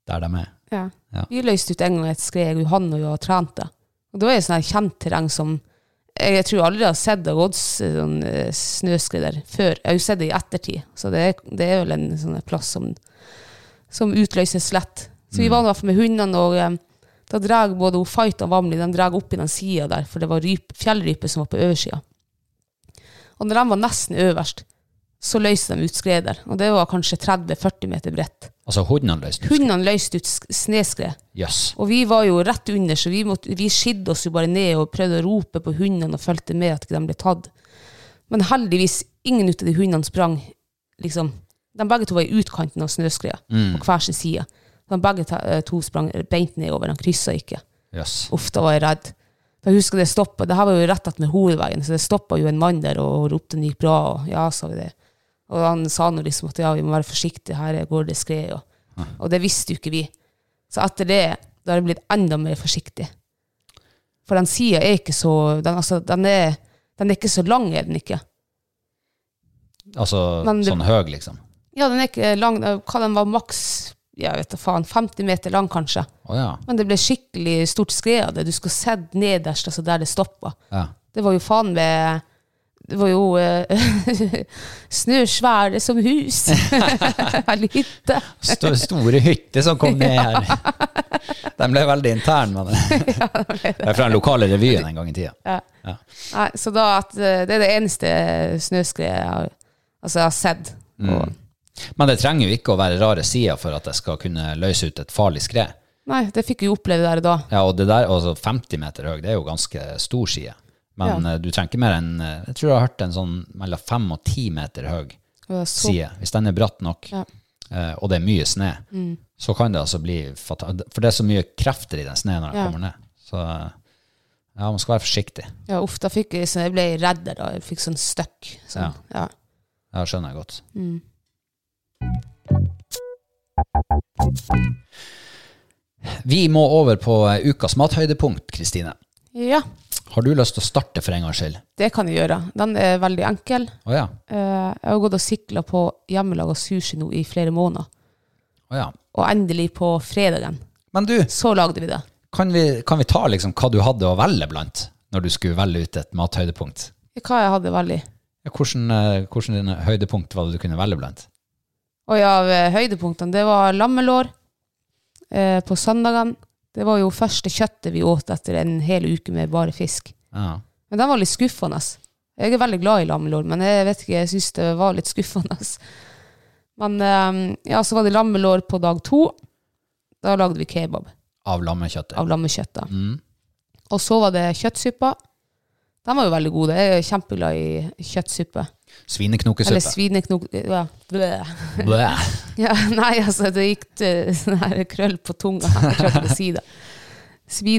Speaker 1: der de er.
Speaker 2: Ja.
Speaker 1: Ja.
Speaker 2: Vi løste ut en gang et skred, jeg og han og jeg har trent det. Og da er det sånn her kjent terreng som jeg, jeg tror aldri jeg har sett det gått sånn eh, snøskred der før. Jeg har jo sett det i ettertid, så det, er- det er vel en sånn her plass som, som utløses lett. Så vi var i hvert fall med hundene, og eh, da drar både hun Fight og Vamli de drar opp i den sida der, for det var ryp, fjellrype som var på oversida. Og når de var nesten øverst, så løste de ut skred der. Og det var kanskje 30-40 meter bredt.
Speaker 1: Altså, hundene løste ut skredet.
Speaker 2: Hundene løste ut sk- sneskred.
Speaker 1: Jøss.
Speaker 2: Og vi var jo rett under, så vi, måtte, vi skidde oss jo bare ned og prøvde å rope på hundene og fulgte med at ikke de ble tatt. Men heldigvis, ingen ut av de hundene sprang. liksom. De begge to var i utkanten av snøskredet, på hver sin side. De begge ta- eh, to sprang beint nedover, de kryssa ikke.
Speaker 1: Jøss.
Speaker 2: Uff, da var jeg redd. Da husker jeg det stoppet. Det her var jo rett attmed hovedveien, så det stoppa jo en mann der og ropte om det gikk bra, og ja, sa vi det. Og han sa nå liksom at ja, vi må være forsiktige, her går det skred, og, og det visste jo ikke vi. Så etter det, da har jeg blitt enda mer forsiktig. For den sida er ikke så den, altså, den, er, den er ikke så lang, er den ikke.
Speaker 1: Altså
Speaker 2: Men det-
Speaker 1: sånn høg, liksom.
Speaker 2: Ja, den er ikke lang, eh, hva den var maks, ja, vet da faen, 50 meter lang kanskje.
Speaker 1: Å ja.
Speaker 2: Men det ble skikkelig stort skred av det. Du skulle sett nederst, altså der det stoppa.
Speaker 1: ja.
Speaker 2: Det var jo faen meg Det var jo eh, snøsvære som hus. Eller hytte.
Speaker 1: Sto- Store hytter som kom ned her. De ble veldig interne, men Det er fra den lokale revyen en gang i tida.
Speaker 2: Ja.
Speaker 1: Ja.
Speaker 2: Nei, så da at eh, det er det eneste snøskredet jeg har, altså jeg har sett. Og,
Speaker 1: Men det trenger jo ikke å være rare sider for at jeg skal kunne løse ut et farlig skred.
Speaker 2: Nei, det fikk vi jo oppleve der og da.
Speaker 1: Ja, og det der, altså 50 meter høy, det er jo ganske stor side. Men
Speaker 2: Ja.
Speaker 1: eh, du trenger ikke mer enn eh, Jeg tror jeg har hørt en sånn mellom 5 og 10 meter høy
Speaker 2: Det var så,
Speaker 1: side. Hvis den er bratt nok,
Speaker 2: Ja. Mm.
Speaker 1: eh, og det er mye snø, så kan det altså bli fatalt. For det er så mye krefter i den snøen når den
Speaker 2: Ja.
Speaker 1: kommer ned. Så eh, ja, man skal være forsiktig.
Speaker 2: ja, uff, da fikk jeg, så jeg ble redd der da. Jeg fikk sånn støkk. Sånn. Ja.
Speaker 1: Ja, skjønner jeg godt. Vi må over på eh, ukas mathøydepunkt, Kristine.
Speaker 2: ja,
Speaker 1: Har du lyst til å starte for en gangs skyld?
Speaker 2: det kan jeg gjøre. Den er veldig enkel.
Speaker 1: Å ja.
Speaker 2: Eh, jeg har gått og sikla på hjemmelaga sushi nå i flere måneder.
Speaker 1: Å ja.
Speaker 2: Og endelig på fredagen,
Speaker 1: Men du,
Speaker 2: så lagde vi det.
Speaker 1: kan vi, kan vi ta liksom hva du hadde å velge blant når du skulle velge ut et mathøydepunkt?
Speaker 2: Hva jeg hadde veldig.
Speaker 1: Ja, hvordan, eh, hvordan dine høydepunkt var det du kunne velge blant?
Speaker 2: Og ja, ved høydepunktene, det var lammelår eh, på søndagen. Det var jo første kjøttet vi åt etter en hel uke med bare fisk.
Speaker 1: Ja.
Speaker 2: Men den var litt skuffende. Jeg er veldig glad i lammelår, men jeg vet ikke, jeg syns det var litt skuffende. Men eh, ja, så var det lammelår på dag to. Da lagde vi kebab
Speaker 1: Av lammekjøttet. Mm.
Speaker 2: av lammekjøttet. Og så var det kjøttsuppa. De var jo veldig gode. Jeg er kjempeglad i kjøttsuppe. Eller
Speaker 1: Svineknokesuppe.
Speaker 2: svineknok... Ja. Bleh.
Speaker 1: Blæh.
Speaker 2: ja. Nei, altså, det gikk til sånn her krøll på tunga. Jeg klarte ikke å si det.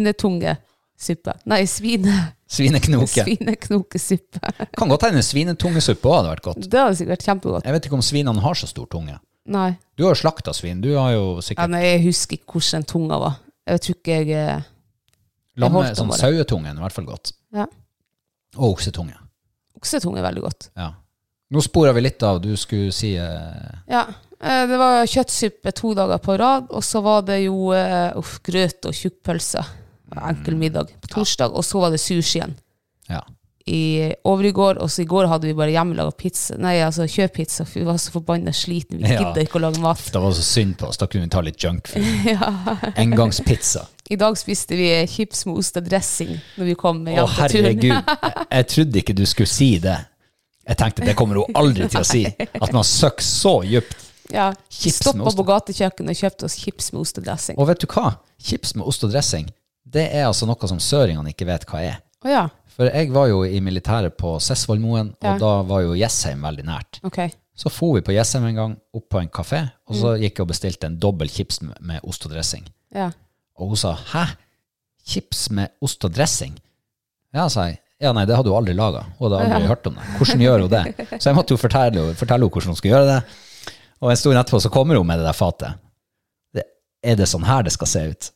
Speaker 2: Svinetungesuppe. Nei, svine...
Speaker 1: Svineknoke.
Speaker 2: svineknokesuppe.
Speaker 1: Kan godt hende svinetungesuppe òg hadde vært godt.
Speaker 2: Det hadde sikkert vært kjempegodt.
Speaker 1: Jeg vet ikke om svinene har så stor tunge.
Speaker 2: Nei.
Speaker 1: Du har jo slakta svin. Du har jo
Speaker 2: Ja,
Speaker 1: sikkert
Speaker 2: nei, jeg husker ikke hvordan tunga var. Jeg tror ikke jeg eh,
Speaker 1: lamme,
Speaker 2: holdt den
Speaker 1: sånn
Speaker 2: bare.
Speaker 1: sauetungen i hvert fall godt.
Speaker 2: Ja.
Speaker 1: Og oksetunge.
Speaker 2: Oksetunge er veldig godt.
Speaker 1: Ja. Nå sporer vi litt av. Du skulle si eh,
Speaker 2: Ja. eh, Det var kjøttsuppe to dager på rad, og så var det jo eh, uff, grøt og tjukkpølse. Enkel middag på torsdag, og så var det sushi igjen
Speaker 1: Ja.
Speaker 2: i overgår, og så i går hadde vi bare hjemmelaga pizza. Nei, altså kjøpizza, for vi var så forbanna sliten. Vi
Speaker 1: Ja.
Speaker 2: gidder ikke å lage mat.
Speaker 1: Det var så synd på oss. Da kunne vi ta litt junkfood.
Speaker 2: Ja.
Speaker 1: Engangspizza.
Speaker 2: I dag spiste vi chips med ost og dressing når vi kom
Speaker 1: Å,
Speaker 2: hjem fra turen.
Speaker 1: herregud. Jeg, jeg trodde ikke du skulle si det. Jeg tenkte det kommer hun aldri til å si. At man søker så dypt.
Speaker 2: Ja.
Speaker 1: Chips med
Speaker 2: Stoppa
Speaker 1: ost.
Speaker 2: på gatekjøkkenet og kjøpte oss chips med ost og dressing.
Speaker 1: Og vet du hva? Chips med ost og dressing, det er altså noe som søringene ikke vet hva er.
Speaker 2: Å ja.
Speaker 1: For jeg var jo i militæret på Sessvollmoen, og
Speaker 2: Ja.
Speaker 1: da var jo Jessheim veldig nært.
Speaker 2: Ok.
Speaker 1: Så for vi på Jessheim en gang, opp på en kafé, og så gikk jeg og bestilte en dobbel chips med- med ost og dressing.
Speaker 2: Ja.
Speaker 1: Og hun sa 'hæ? Chips med ost og dressing?' Ja, sa jeg. Ja, nei, det hadde hun aldri laga. Hun hadde aldri hørt om det. Hvordan gjør hun det? Så jeg måtte jo fortelle, fortelle henne hvordan hun skulle gjøre det. Og en stund etterpå så kommer hun med det der fatet. Det, er det sånn her det skal se ut?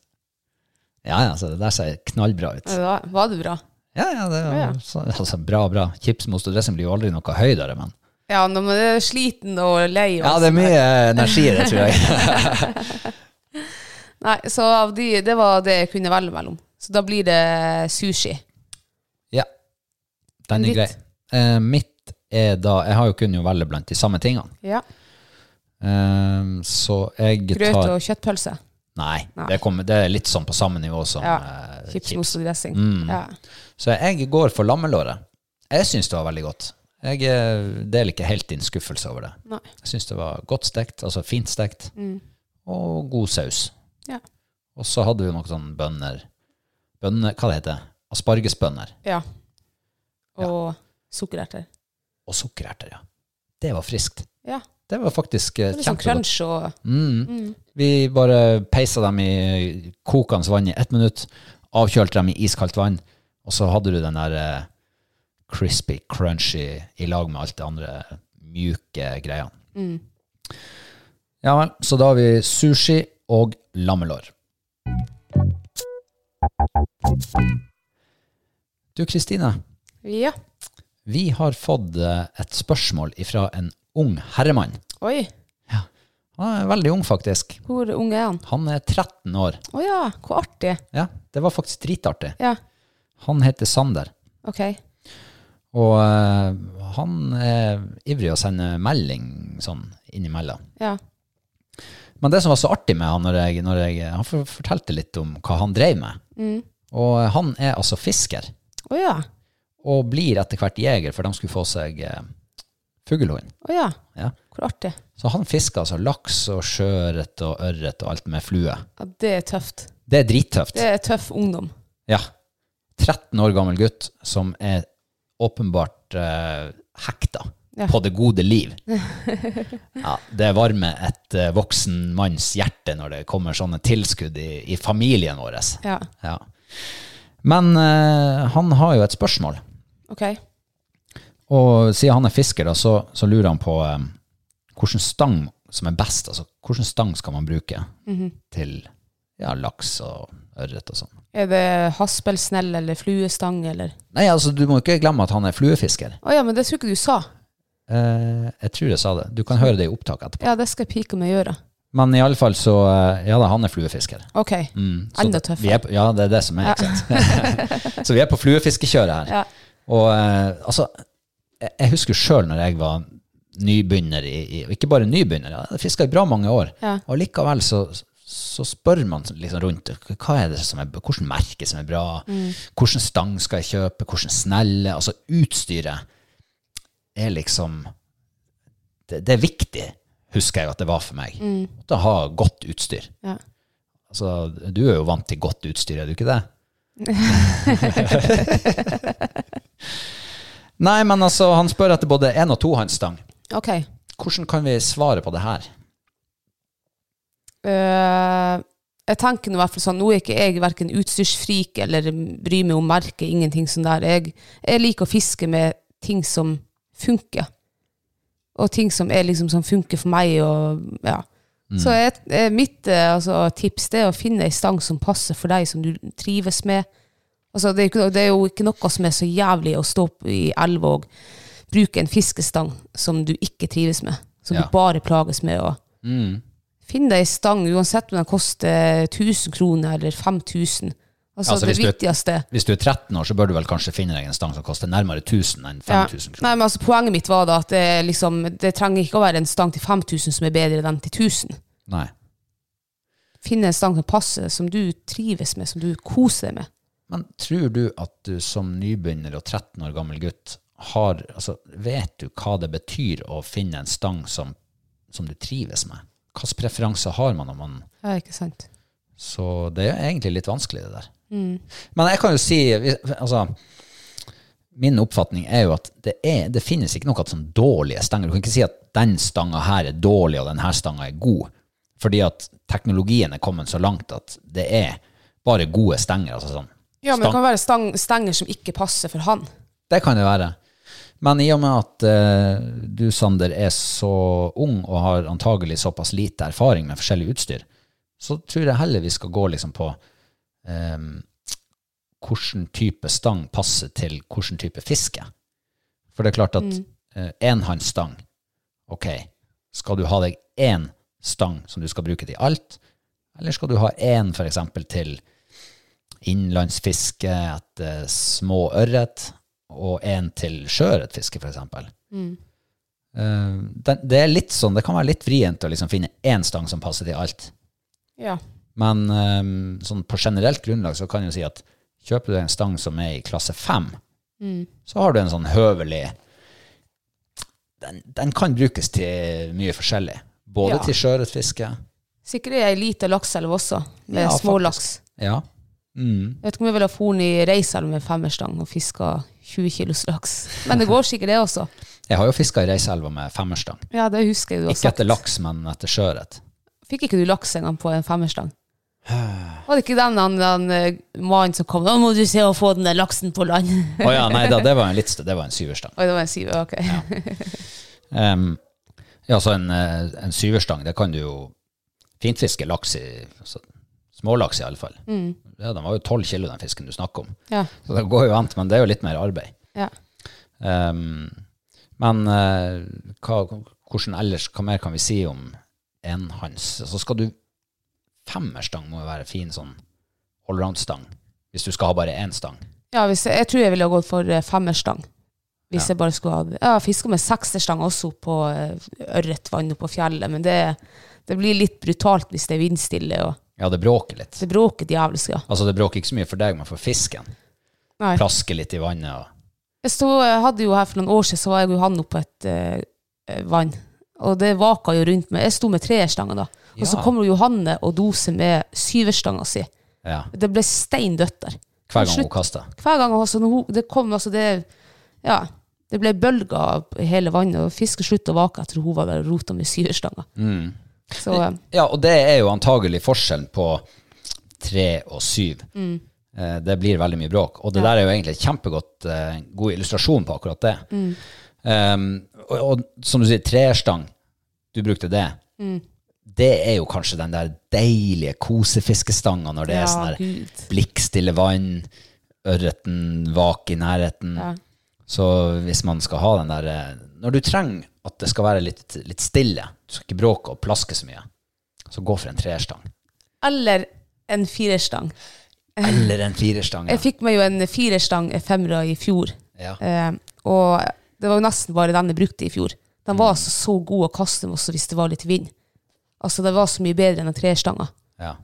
Speaker 1: Ja, ja, så det der ser knallbra ut.
Speaker 2: Ja, da var det bra.
Speaker 1: Ja, ja, det
Speaker 2: Ja, ja.
Speaker 1: er så, altså, bra, bra. Chips med ost og dressing blir jo aldri noe høydere, men
Speaker 2: Ja, når man er sliten og lei. altså. og
Speaker 1: Ja, det er mye energi i det, tror jeg.
Speaker 2: Nei, så av de, det var det jeg kunne velge mellom. Så da blir det sushi.
Speaker 1: Ja. Den
Speaker 2: Ditt?
Speaker 1: er grei. Eh, mitt er da Jeg har jo kun jo velge blant de samme tingene.
Speaker 2: Ja.
Speaker 1: Ehm, så jeg
Speaker 2: Grøt
Speaker 1: tar
Speaker 2: og kjøttpølse.
Speaker 1: Nei,
Speaker 2: Nei.
Speaker 1: Det, kommer, det er litt sånn på samme nivå som
Speaker 2: Ja.
Speaker 1: eh,
Speaker 2: Chips,
Speaker 1: chips. Mm.
Speaker 2: ost og dressing. Ja.
Speaker 1: Så jeg går for lammelåret. Jeg syns det var veldig godt. Jeg eh, deler ikke helt din skuffelse over det.
Speaker 2: Nei.
Speaker 1: Jeg syns det var godt stekt, altså fint stekt,
Speaker 2: Mm.
Speaker 1: og god saus.
Speaker 2: Ja.
Speaker 1: Og så hadde vi noen sånne bønner Bønner, Hva det heter det? Aspargesbønner.
Speaker 2: ja. Og sukkererter.
Speaker 1: Og sukkererter, ja. Det var friskt.
Speaker 2: Ja.
Speaker 1: Det var faktisk eh,
Speaker 2: Det er Litt sånn
Speaker 1: kjempegodt.
Speaker 2: crunch og
Speaker 1: Mm. Vi bare peisa dem i kokende vann i ett minutt, avkjølte dem i iskaldt vann, og så hadde du den der eh, crispy, crunchy i lag med alt det andre mjuke greiene. Ja vel, så da har vi sushi og lammelår. Du Kristine,
Speaker 2: Ja.
Speaker 1: vi har fått eh, et spørsmål fra en ung herremann.
Speaker 2: Oi,
Speaker 1: Han er veldig ung, faktisk.
Speaker 2: hvor ung er han?
Speaker 1: Han er 13 år.
Speaker 2: Å ja, hvor artig.
Speaker 1: Ja, det var faktisk dritartig.
Speaker 2: Ja,
Speaker 1: Han heter Sander,
Speaker 2: ok.
Speaker 1: og eh, han er ivrig å sende melding sånn innimellom.
Speaker 2: Ja.
Speaker 1: Men det som var så artig med han, når jeg, når jeg, han for- fortalte litt om hva han drev med. Og eh, han er altså fisker,
Speaker 2: Å ja.
Speaker 1: og blir etter hvert jeger, for de skulle få seg eh, fuglehund.
Speaker 2: Å ja,
Speaker 1: Ja.
Speaker 2: hvor artig.
Speaker 1: Så han fisker altså laks og sjøørret og ørret og alt med flue.
Speaker 2: Ja, det er tøft.
Speaker 1: Det er drittøft.
Speaker 2: Det er tøff ungdom.
Speaker 1: Ja. 13 år gammel gutt som er åpenbart eh, hekta
Speaker 2: Ja.
Speaker 1: på det gode liv. Ja, det varmer et eh, voksen manns hjerte når det kommer sånne tilskudd i, i familien vår.
Speaker 2: Ja,
Speaker 1: Ja. Men eh, han har jo et spørsmål.
Speaker 2: ok.
Speaker 1: Og siden han er fisker, da, så, så lurer han på eh, hvilken stang som er best. Altså hvilken stang skal man bruke til ja, laks og ørret og sånn.
Speaker 2: Er det haspelsnell eller fluestang eller?
Speaker 1: Nei, altså du må ikke glemme at han er fluefisker.
Speaker 2: Å ja, men det tror ikke du sa.
Speaker 1: Eh, jeg tror jeg sa det. Du kan høre det i opptak etterpå.
Speaker 2: Ja, det skal jeg pike med å gjøre.
Speaker 1: Men i alle fall så eh, Ja da, han er fluefisker.
Speaker 2: Ok.
Speaker 1: Mm, så
Speaker 2: Enda
Speaker 1: det- vi er
Speaker 2: tøffere.
Speaker 1: på- Ja, det er det som er, ikke sant. så vi er på fluefiskekjøret her.
Speaker 2: Ja.
Speaker 1: Og eh, altså, jeg, jeg husker sjøl når jeg var nybegynner i, i og Ikke bare nybegynner, jeg hadde fiska i bra mange år.
Speaker 2: Ja.
Speaker 1: Og likevel så så spør man liksom rundt hva er det som er, hvordan merke som er bra,
Speaker 2: Mm.
Speaker 1: hvordan stang skal jeg kjøpe, hvordan snelle Altså utstyret er liksom det, det er viktig, husker jeg at det var for meg.
Speaker 2: Mm.
Speaker 1: Å ha godt utstyr.
Speaker 2: Ja.
Speaker 1: Altså, du er jo vant til godt utstyr, er du ikke det? Nei, men altså, han spør etter både én og to hans stang.
Speaker 2: Ok.
Speaker 1: Hvordan kan vi svare på det her?
Speaker 2: Eh, jeg tenker nå i hvert fall sånn, nå er ikke jeg hverken utstyrsfrik eller bryr meg om merke, ingenting sånn der. Jeg, jeg liker å fiske med ting som funker. Og ting som, er liksom, som funker for meg. Og, ja. Så jeg, eh, mitt eh, altså, tips det er å finne ei stang som passer for deg, som du trives med. Altså, det, er jo ikke, no- det er jo ikke noe som er så jævlig å stå opp i elva og bruke en fiskestang som du ikke trives med. Som
Speaker 1: Ja.
Speaker 2: du bare plages med. Og, Finn deg en stang, uansett om den koster 1000 kroner eller 5000. Altså,
Speaker 1: Altså,
Speaker 2: det
Speaker 1: hvis du-
Speaker 2: viktigste.
Speaker 1: Hvis du er 13 år, så bør du vel kanskje finne deg en stang som koster nærmere 1000 enn
Speaker 2: Ja.
Speaker 1: 5000 kroner.
Speaker 2: Nei, men altså, poenget mitt var da at det, er liksom, det trenger ikke å være en stang til 5000 som er bedre enn den til 1000.
Speaker 1: Nei.
Speaker 2: Finn en stang som passer, som du trives med, som du koser deg med.
Speaker 1: Men tror du at du som nybegynner og 13 år gammel gutt har, altså, vet du hva det betyr å finne en stang som, som du trives med? Hvilke preferanser har man om man
Speaker 2: Ja, ikke sant?
Speaker 1: Så det er egentlig litt vanskelig, det der.
Speaker 2: Mm.
Speaker 1: Men jeg kan jo si vi- altså, Min oppfatning er jo at det, er, det finnes ikke noe sånn dårlige stenger. Du kan ikke si at den stanga her er dårlig, og den her stanga er god. Fordi at teknologien er kommet så langt at det er bare gode stenger. Altså sånn.
Speaker 2: Ja, men det
Speaker 1: Stang-
Speaker 2: kan være stang, stenger som ikke passer for han.
Speaker 1: det kan det være. Men i og med at eh, du, Sander, er så ung og har antagelig såpass lite erfaring med forskjellig utstyr, så tror jeg heller vi skal gå liksom på eh, hvilken type stang passer til hvilken type fiske. For det er klart at eh, enhåndsstang, ok, skal du ha deg én stang som du skal bruke til alt, eller skal du ha én for eksempel til innlandsfiske etter små ørret, og en til sjøørretfiske, f.eks. Mm. Det, det er litt sånn, det kan være litt vrient å liksom finne én stang som passer til alt.
Speaker 2: Ja.
Speaker 1: Men eh, sånn på generelt grunnlag så kan jeg jo si at kjøper du deg en stang som er i klasse 5, så har du en sånn høvelig den, den kan brukes til mye forskjellig. Både
Speaker 2: Ja.
Speaker 1: til sjøørretfiske
Speaker 2: Sikkert er jeg lite lakselv også, med
Speaker 1: Ja,
Speaker 2: smålaks.
Speaker 1: Ja. Mm.
Speaker 2: Jeg vet ikke om jeg ville ha foren i reiselv med femmerstang og fiska 20 kilos laks. Men det går sikkert det også.
Speaker 1: Jeg har jo fiska i Reiseelva med femmerstang.
Speaker 2: Ja, det husker jeg du har
Speaker 1: Ikke
Speaker 2: sagt.
Speaker 1: etter laks, men etter sjøørret.
Speaker 2: Fikk ikke du laks en gang på en femmerstang? Var det ikke den, den, den eh, mannen som kom 'Nå må du se å få den der laksen på land'?
Speaker 1: Å ja, nei da, det var en litt stø- det var en syverstang.
Speaker 2: Oi, det var en syv, ok.
Speaker 1: Ehm, ja, så en, eh, en syverstang, det kan du jo fint fiske laks i, altså, smålaks i alle fall. Ja, den var jo 12 kilo den fisken du snakker om.
Speaker 2: Mm. Ja.
Speaker 1: Så det går jo an, men det er jo litt mer arbeid.
Speaker 2: ja.
Speaker 1: Ehm, men eh, hva, hvordan ellers, hva mer kan vi si om enhånds? Så skal du, femmerstang må jo være fin sånn allround-stang, hvis du skal ha bare én stang.
Speaker 2: ja hvis jeg, jeg tror jeg ville ha gått for eh, femmerstang. Hvis
Speaker 1: Ja.
Speaker 2: jeg bare skulle ha Jeg har fiska med sekserstang også på ørretvann oppe på fjellet, men det, det blir litt brutalt hvis det er vindstille og
Speaker 1: Ja, det bråker litt.
Speaker 2: det bråker djevelsk, ja.
Speaker 1: Altså, det bråker ikke så mye for deg, men for fisken.
Speaker 2: Nei.
Speaker 1: Plasker litt i vannet og
Speaker 2: Jeg sto, jeg hadde jo her for noen år siden, så var jeg og han oppe på et eh, eh, vann. Og det vaka jo rundt meg. Jeg sto med treerstanga da. Og så
Speaker 1: Ja.
Speaker 2: kommer Johanne og doser med syverstanga si.
Speaker 1: Ja,
Speaker 2: Det ble stein dødt der.
Speaker 1: hver gang
Speaker 2: Slutt.
Speaker 1: hun kaster.
Speaker 2: Hver gang altså, når hun, det kom altså det Ja. Det ble bølger av hele vannet, og fisken sluttet å vake etter hun var der og rota med syverstanga. Så eh,
Speaker 1: Ja, og det er jo antagelig forskjellen på tre og syv.
Speaker 2: Mm.
Speaker 1: Eh, Det blir veldig mye bråk. Og det der er jo egentlig et kjempegodt eh, god illustrasjon på akkurat det.
Speaker 2: Mm.
Speaker 1: Ehm, og, og som du sier, treerstang, du brukte det.
Speaker 2: Mm.
Speaker 1: Det er jo kanskje den der deilige kosefiskestanga når det
Speaker 2: Ja,
Speaker 1: er sånn der
Speaker 2: Gud.
Speaker 1: blikkstille vann, ørreten vak i nærheten.
Speaker 2: Ja.
Speaker 1: Så hvis man skal ha den der eh, Når du trenger at det skal være litt, litt stille, du skal ikke bråke og plaske så mye, så gå for en treerstang.
Speaker 2: Eller en firerstang.
Speaker 1: Eller en firerstang.
Speaker 2: Jeg fikk meg jo en firerstang eh, femmer i fjor.
Speaker 1: Ja. Ja.
Speaker 2: Eh, og det var jo nesten bare den jeg brukte i fjor. Den var altså så god å kaste med også hvis det var litt vind. Altså Det var så mye bedre enn en trestanga.
Speaker 1: Ja.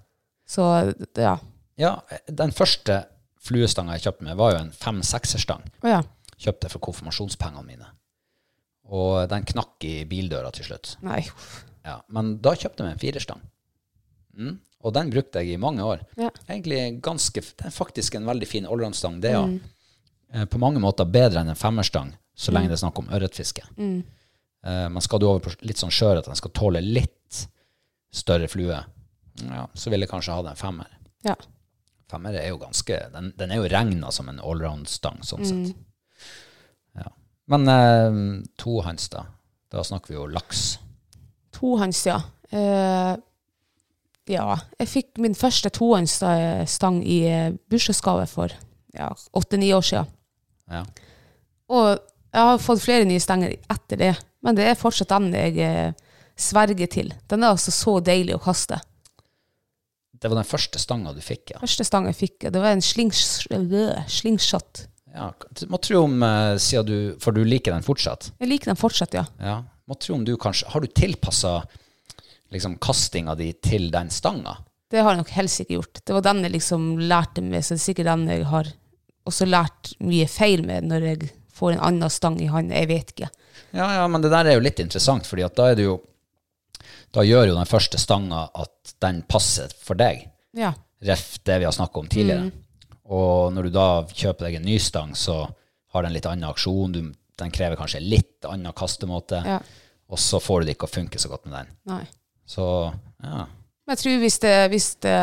Speaker 2: Så det- ja.
Speaker 1: ja, den første fluestanga jeg kjøpte meg, var jo en fem-sekserstang.
Speaker 2: Å ja.
Speaker 1: Kjøpte jeg for konfirmasjonspengene mine. Og den knakk i bildøra til slutt.
Speaker 2: Nei. uff.
Speaker 1: Ja, men da kjøpte jeg meg en firerstang. Mm. Og den brukte jeg i mange år.
Speaker 2: Ja.
Speaker 1: Egentlig
Speaker 2: Mm.
Speaker 1: ganske, Det er faktisk en veldig fin allroundstang, det ja. Eh, På mange måter bedre enn en femmerstang, så lenge det er snakk om ørretfiske.
Speaker 2: Mm.
Speaker 1: Eh, men skal du over på litt sånn skjør at den skal tåle litt større flue, ja, så vil jeg kanskje ha den femmer.
Speaker 2: Ja.
Speaker 1: Femmer er jo ganske Den, den er jo regna som en allround-stang,
Speaker 2: Mm.
Speaker 1: sånn sett. Ja. Men eh, tohands, da? Da snakker vi jo laks.
Speaker 2: Tohånds, ja. Eh, ja. Jeg fikk min første tohåndsstang i eh, bursdagsgave for ja, åtte-ni år siden.
Speaker 1: Ja.
Speaker 2: Og jeg har fått flere nye stenger etter det, men det er fortsatt den jeg eh, sverger til. Den er altså så deilig å kaste.
Speaker 1: Det var den første stanga du fikk, ja.
Speaker 2: Første stang jeg fikk, det var en slings, øh, slingshot.
Speaker 1: ja du må tro om, eh, siden du, For du liker den fortsatt?
Speaker 2: Jeg liker den fortsatt, ja.
Speaker 1: Ja. Må tro om du kanskje Har du tilpassa liksom, kastinga di til den stanga?
Speaker 2: Det har jeg nok helst ikke gjort. Det var den jeg liksom lærte med, så det er sikkert den jeg har også lært mye feil med når jeg får en annen stang i hånda. Jeg vet ikke.
Speaker 1: Ja, ja, men det der er jo litt interessant, fordi at da er det jo Da gjør jo den første stanga at den passer for deg.
Speaker 2: Ja.
Speaker 1: Ref det vi har snakka om tidligere. Og når du da kjøper deg en ny stang, så har den litt annen aksjon. Du, den krever kanskje en litt annen kastemåte.
Speaker 2: Ja.
Speaker 1: Og så får du det ikke å funke så godt med den.
Speaker 2: Nei.
Speaker 1: Så ja.
Speaker 2: Men jeg tror hvis det, hvis det,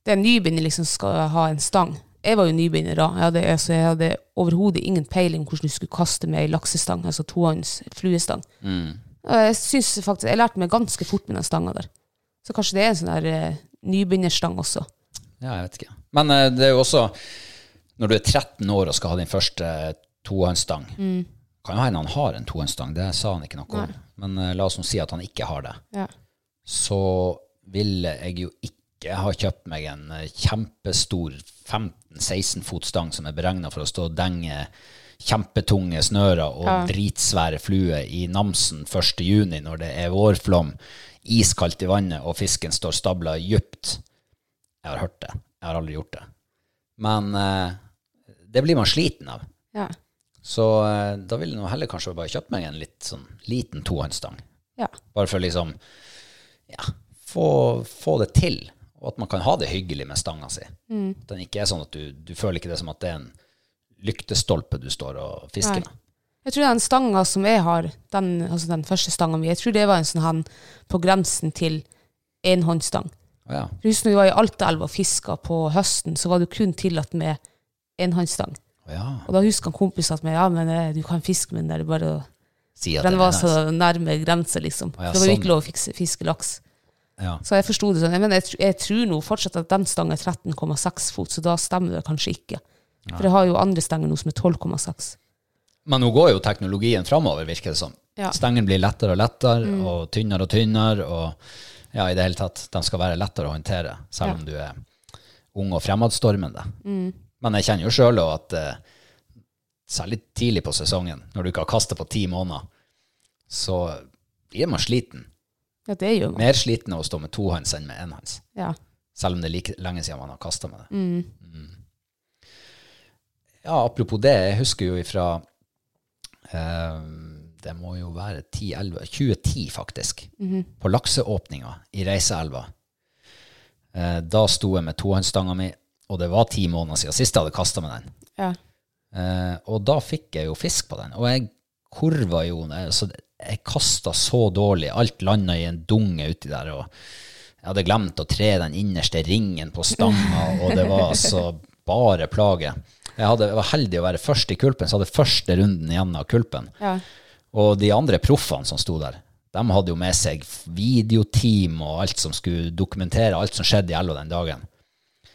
Speaker 2: det er en nybegynner liksom skal ha en stang Jeg var jo nybegynner da. Jeg hadde, altså, jeg hadde overhodet ingen peiling hvordan du skulle kaste med ei laksestang, altså tohånds fluestang. Og Jeg synes faktisk, jeg lærte meg ganske fort med den stanga der. Så kanskje det er en sånn der eh, nybegynnerstang også.
Speaker 1: Ja, jeg vet ikke. Men eh, det er jo også Når du er 13 år og skal ha din første tohåndsstang Kan jo hende han har en tohåndsstang, det sa han ikke noe om. Men eh, la oss nå si at han ikke har det.
Speaker 2: Ja.
Speaker 1: Så ville jeg jo ikke ha kjøpt meg en eh, kjempestor 15-16 fot stang som er beregna for å stå og denge kjempetunge snører og dritsvære fluer i Namsen 1. juni når det er vårflom, iskaldt i vannet og fisken står stabla dypt. Jeg har hørt det. Jeg har aldri gjort det. Men eh, det blir man sliten av.
Speaker 2: Ja.
Speaker 1: Så eh, da vil jeg nå heller kanskje bare kjøpe meg en litt sånn liten tohåndsstang.
Speaker 2: Ja.
Speaker 1: Bare for å liksom ja, få, få det til. Og at man kan ha det hyggelig med stanga si.
Speaker 2: Mm.
Speaker 1: At Den ikke er sånn at du, du føler ikke det som at det er en lyktestolpe du står og fisker
Speaker 2: Nei.
Speaker 1: med.
Speaker 2: Jeg tror den stanga som jeg har, den, altså den første stanga mi, jeg tror det var en sånn han på grensen til enhåndstang.
Speaker 1: Å ja.
Speaker 2: For Husk når vi var i Altaelva og fiska på høsten, så var det kun tillatt med enhåndstang.
Speaker 1: Å ja.
Speaker 2: Og da husker han kompisen at meg, ja, men eh, du kan fiske med den der, bare å-
Speaker 1: Si at
Speaker 2: Den
Speaker 1: den
Speaker 2: var
Speaker 1: er nice.
Speaker 2: så nærme grensa, liksom.
Speaker 1: Å ja,
Speaker 2: det var jo
Speaker 1: sånn.
Speaker 2: ikke lov å fikse, fiske laks.
Speaker 1: Ja.
Speaker 2: Så jeg forsto det sånn. Men jeg, tr- jeg tror nå fortsatt at den stanga er 13,6 fot, så da stemmer det kanskje ikke. For jeg har jo andre stenger nå som er 12,6.
Speaker 1: Men nå går jo teknologien framover, virker det som.
Speaker 2: Ja. Mm.
Speaker 1: Stengen blir lettere og lettere, og tynnere og tynnere. Og ja, i det hele tatt, de skal være lettere å håndtere, selv
Speaker 2: Ja. Mm.
Speaker 1: om du er ung og fremadstormende. Men jeg kjenner jo sjøl òg at eh, særlig tidlig på sesongen, når du ikke har kastet på ti måneder, så blir man sliten.
Speaker 2: Ja, det gjør man.
Speaker 1: Mer sliten av å stå med tohånds enn med enhånds.
Speaker 2: Ja.
Speaker 1: Selv om det er like lenge siden man har kasta med det. Mm. Ja, apropos det, jeg husker jo ifra eh, Det må jo være 10-11 2010, faktisk. På lakseåpninga i Reiseelva. Eh, da sto jeg med tohåndsstanga mi, og det var ti måneder siden sist jeg hadde kasta med den.
Speaker 2: ja.
Speaker 1: Eh, og da fikk jeg jo fisk på den. Og jeg kurva jo altså, Jeg kasta så dårlig. Alt landa i en dunge uti der. Og jeg hadde glemt å tre den innerste ringen på stanga, og det var altså bare plage. Jeg, hadde, jeg var heldig å være først i kulpen, så hadde jeg første runden igjen av kulpen.
Speaker 2: Ja.
Speaker 1: Og de andre proffene som sto der, de hadde jo med seg videoteam og alt som skulle dokumentere alt som skjedde i elva den dagen.